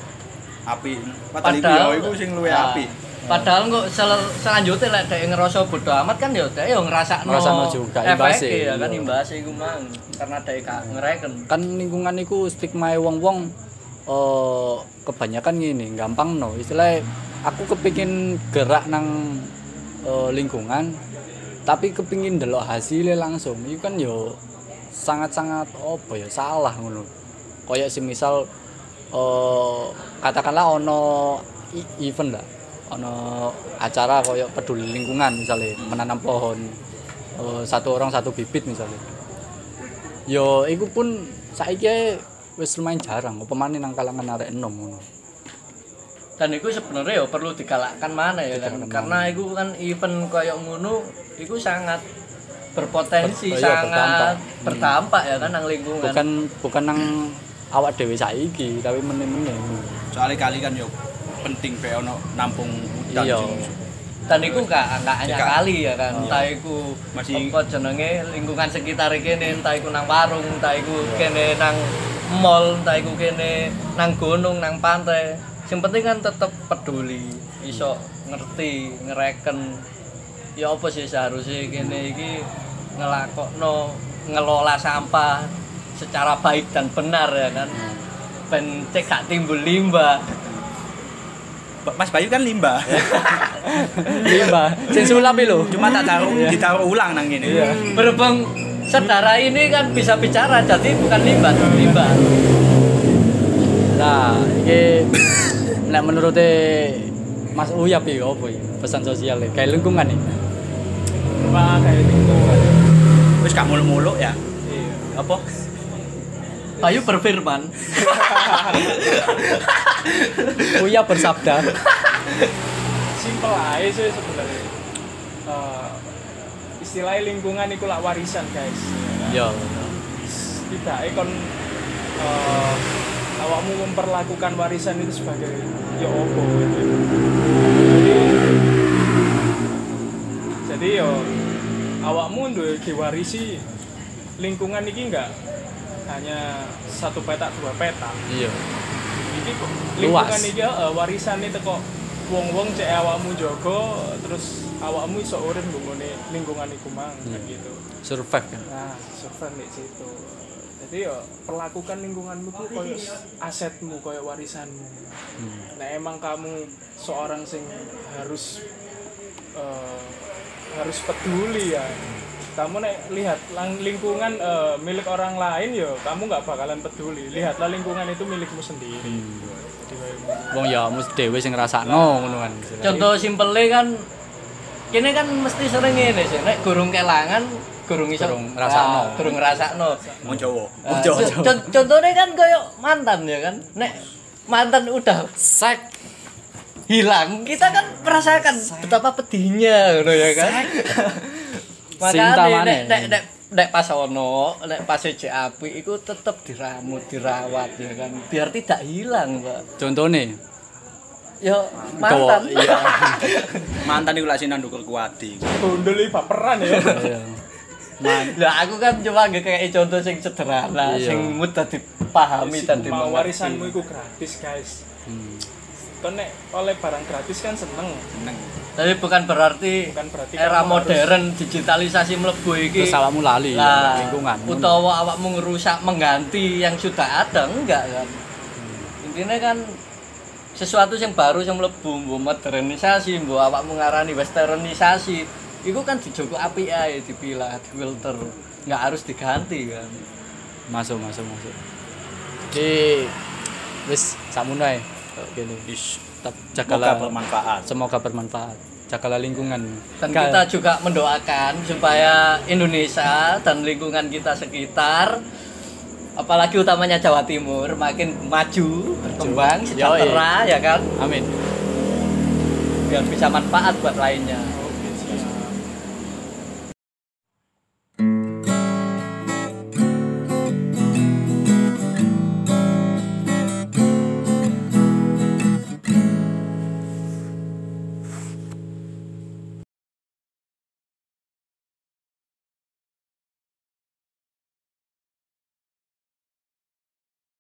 [SPEAKER 4] api. Padahal iku
[SPEAKER 3] Padahal-
[SPEAKER 4] ya iku sing luwih
[SPEAKER 2] Ah.
[SPEAKER 4] api.
[SPEAKER 3] padahal engko sel- selanjutnya lek dhek ngerasa bodo amat kan ya dhek yo ngrasakno
[SPEAKER 2] Ngrasakno juga, imbase.
[SPEAKER 3] efeknya ya kan
[SPEAKER 2] Iya.
[SPEAKER 3] imbase iku mang karena dhek gak ngereken
[SPEAKER 2] kan lingkungan iku stigma wong-wong eh kebanyakan gini gampang no istilah aku kepingin gerak nang eh, lingkungan tapi kepingin delok hasilnya langsung itu kan yo sangat-sangat apa ya salah ngono kayak semisal eh, katakanlah ono i- event lah ono acara kayak peduli lingkungan misalnya menanam pohon eh, satu orang satu bibit misalnya yo iku pun saiki ae wis lumayan jarang apa maneh nang kalangan arek enom ngono
[SPEAKER 3] dan itu sebenarnya ya perlu digalakkan mana ya kan
[SPEAKER 2] Digalakkan
[SPEAKER 3] karena itu kan event kayak ngono itu sangat
[SPEAKER 2] Ber-
[SPEAKER 3] berpotensi
[SPEAKER 2] iya,
[SPEAKER 3] sangat
[SPEAKER 2] berdampak.
[SPEAKER 3] berdampak.
[SPEAKER 2] Hmm.
[SPEAKER 3] ya kan nang lingkungan
[SPEAKER 2] bukan bukan nang awak dhewe saiki tapi meneh-meneh
[SPEAKER 4] Soale kali kan yo penting be ono nampung hutan
[SPEAKER 2] Iya.
[SPEAKER 4] sing-
[SPEAKER 3] dan itu gak gak hanya
[SPEAKER 4] Jika-
[SPEAKER 3] kali ya kan entah itu
[SPEAKER 4] Masih-
[SPEAKER 3] apa jenenge lingkungan sekitar kene entah itu nang warung entah itu kene nang mall entah itu kene nang gunung nang pantai yang penting kan tetep peduli iso ngerti ngereken ya apa sih seharusnya kene iki ngelakokno ngelola sampah secara baik dan benar ya kan ben cek gak timbul limbah
[SPEAKER 4] Ba- Mas Bayu kan limbah.
[SPEAKER 2] limbah sing sulap iki lho
[SPEAKER 4] Cuma tak taruh ditaruh ulang nang ngene.
[SPEAKER 2] iya
[SPEAKER 3] berhubung saudara ini kan bisa bicara jadi bukan limbah limbah
[SPEAKER 2] nah iki nek menurut Mas Uyap iki opo iki pesan sosial iki kayak lingkungan iki
[SPEAKER 1] Wah, kayak lingkungan.
[SPEAKER 4] Wis gak muluk-muluk ya.
[SPEAKER 2] Ah.
[SPEAKER 1] Iya.
[SPEAKER 4] Apa?
[SPEAKER 3] Bayu berfirman
[SPEAKER 1] Iya.
[SPEAKER 2] Uyap bersabda
[SPEAKER 1] simpel aja sih sebenarnya Eh, istilahnya lingkungan itu lah warisan guys
[SPEAKER 2] yo
[SPEAKER 1] tidak kon eh, awakmu memperlakukan warisan itu sebagai ya opo gitu. jadi jadi yo awakmu nduwe diwarisi lingkungan ini enggak hanya satu petak dua petak
[SPEAKER 2] iya
[SPEAKER 1] iki kok
[SPEAKER 2] Luas.
[SPEAKER 1] lingkungan iki uh, warisan itu kok wong-wong cek awakmu jogo terus awakmu iso urip nggone lingkungan iku mang kayak gitu
[SPEAKER 2] survive kan
[SPEAKER 1] nah survive di situ jadi ya perlakukan lingkunganmu tuh koyo asetmu koyo warisanmu nah emang kamu seorang sing harus eh, harus peduli ya kamu nek lihat lang- lingkungan eh, milik orang lain yo kamu nggak bakalan peduli lihatlah lingkungan itu milikmu sendiri Jadi kayak gitu.
[SPEAKER 2] Wong ya mus dhewe sing ngrasakno ngono kan.
[SPEAKER 3] Contoh simpelnya kan kene kan mesti sering ngene sih nek gurung kelangan gurung iso
[SPEAKER 2] Gurung ngrasakno.
[SPEAKER 3] Ah, gurung ngrasakno.
[SPEAKER 4] Mau Jawa.
[SPEAKER 3] Ah, co- co- contohnya kan koyo mantan ya kan. Nek mantan udah
[SPEAKER 2] sek
[SPEAKER 3] hilang, kita kan merasakan betapa pedihnya ngono ya kan.
[SPEAKER 2] Cinta
[SPEAKER 3] Makanya nek
[SPEAKER 2] maneh.
[SPEAKER 3] nek nek nek pas ono, nek pas siji apik iku tetep diramu, dirawat ya kan biar tidak hilang, Pak.
[SPEAKER 2] contone
[SPEAKER 3] Yo
[SPEAKER 2] Gawa,
[SPEAKER 3] mantan.
[SPEAKER 2] iya.
[SPEAKER 4] Mantan iku lak sing nanduk kuwadi.
[SPEAKER 1] Bondol ini baperan ya
[SPEAKER 3] Lah aku kan cuma nggak kayak contoh sing sederhana,
[SPEAKER 2] Iya.
[SPEAKER 3] sing mudah dipahami
[SPEAKER 1] mau
[SPEAKER 3] dan dimengerti.
[SPEAKER 1] warisanmu itu gratis guys
[SPEAKER 2] Hmm.
[SPEAKER 1] Kan nek oleh barang gratis kan seneng
[SPEAKER 4] Seneng.
[SPEAKER 3] Tapi bukan berarti
[SPEAKER 1] bukan berarti kamu
[SPEAKER 3] era
[SPEAKER 1] harus-
[SPEAKER 3] modern digitalisasi mlebu iki
[SPEAKER 2] terus awakmu lali
[SPEAKER 3] lah
[SPEAKER 2] lingkungan.
[SPEAKER 3] utawa awakmu ngerusak mengganti yang sudah ada enggak kan. Intinya kan sesuatu yang baru yang mlebu mbok modernisasi, mbok awakmu ngarani westernisasi, itu kan dijogo api ae dipilah, filter. Enggak harus diganti kan.
[SPEAKER 2] masuk masuk masuk. Jadi wis samono ae. Kok Gini.
[SPEAKER 4] Is
[SPEAKER 2] Tetap
[SPEAKER 4] semoga
[SPEAKER 2] jagalah
[SPEAKER 4] bermanfaat.
[SPEAKER 2] semoga bermanfaat. Jagalah lingkungan.
[SPEAKER 3] dan
[SPEAKER 2] Ka-
[SPEAKER 3] kita juga mendoakan supaya Indonesia dan lingkungan kita sekitar apalagi utamanya Jawa Timur makin maju, berkembang, sejahtera ya kan
[SPEAKER 2] Amin.
[SPEAKER 3] biar bisa manfaat buat lainnya.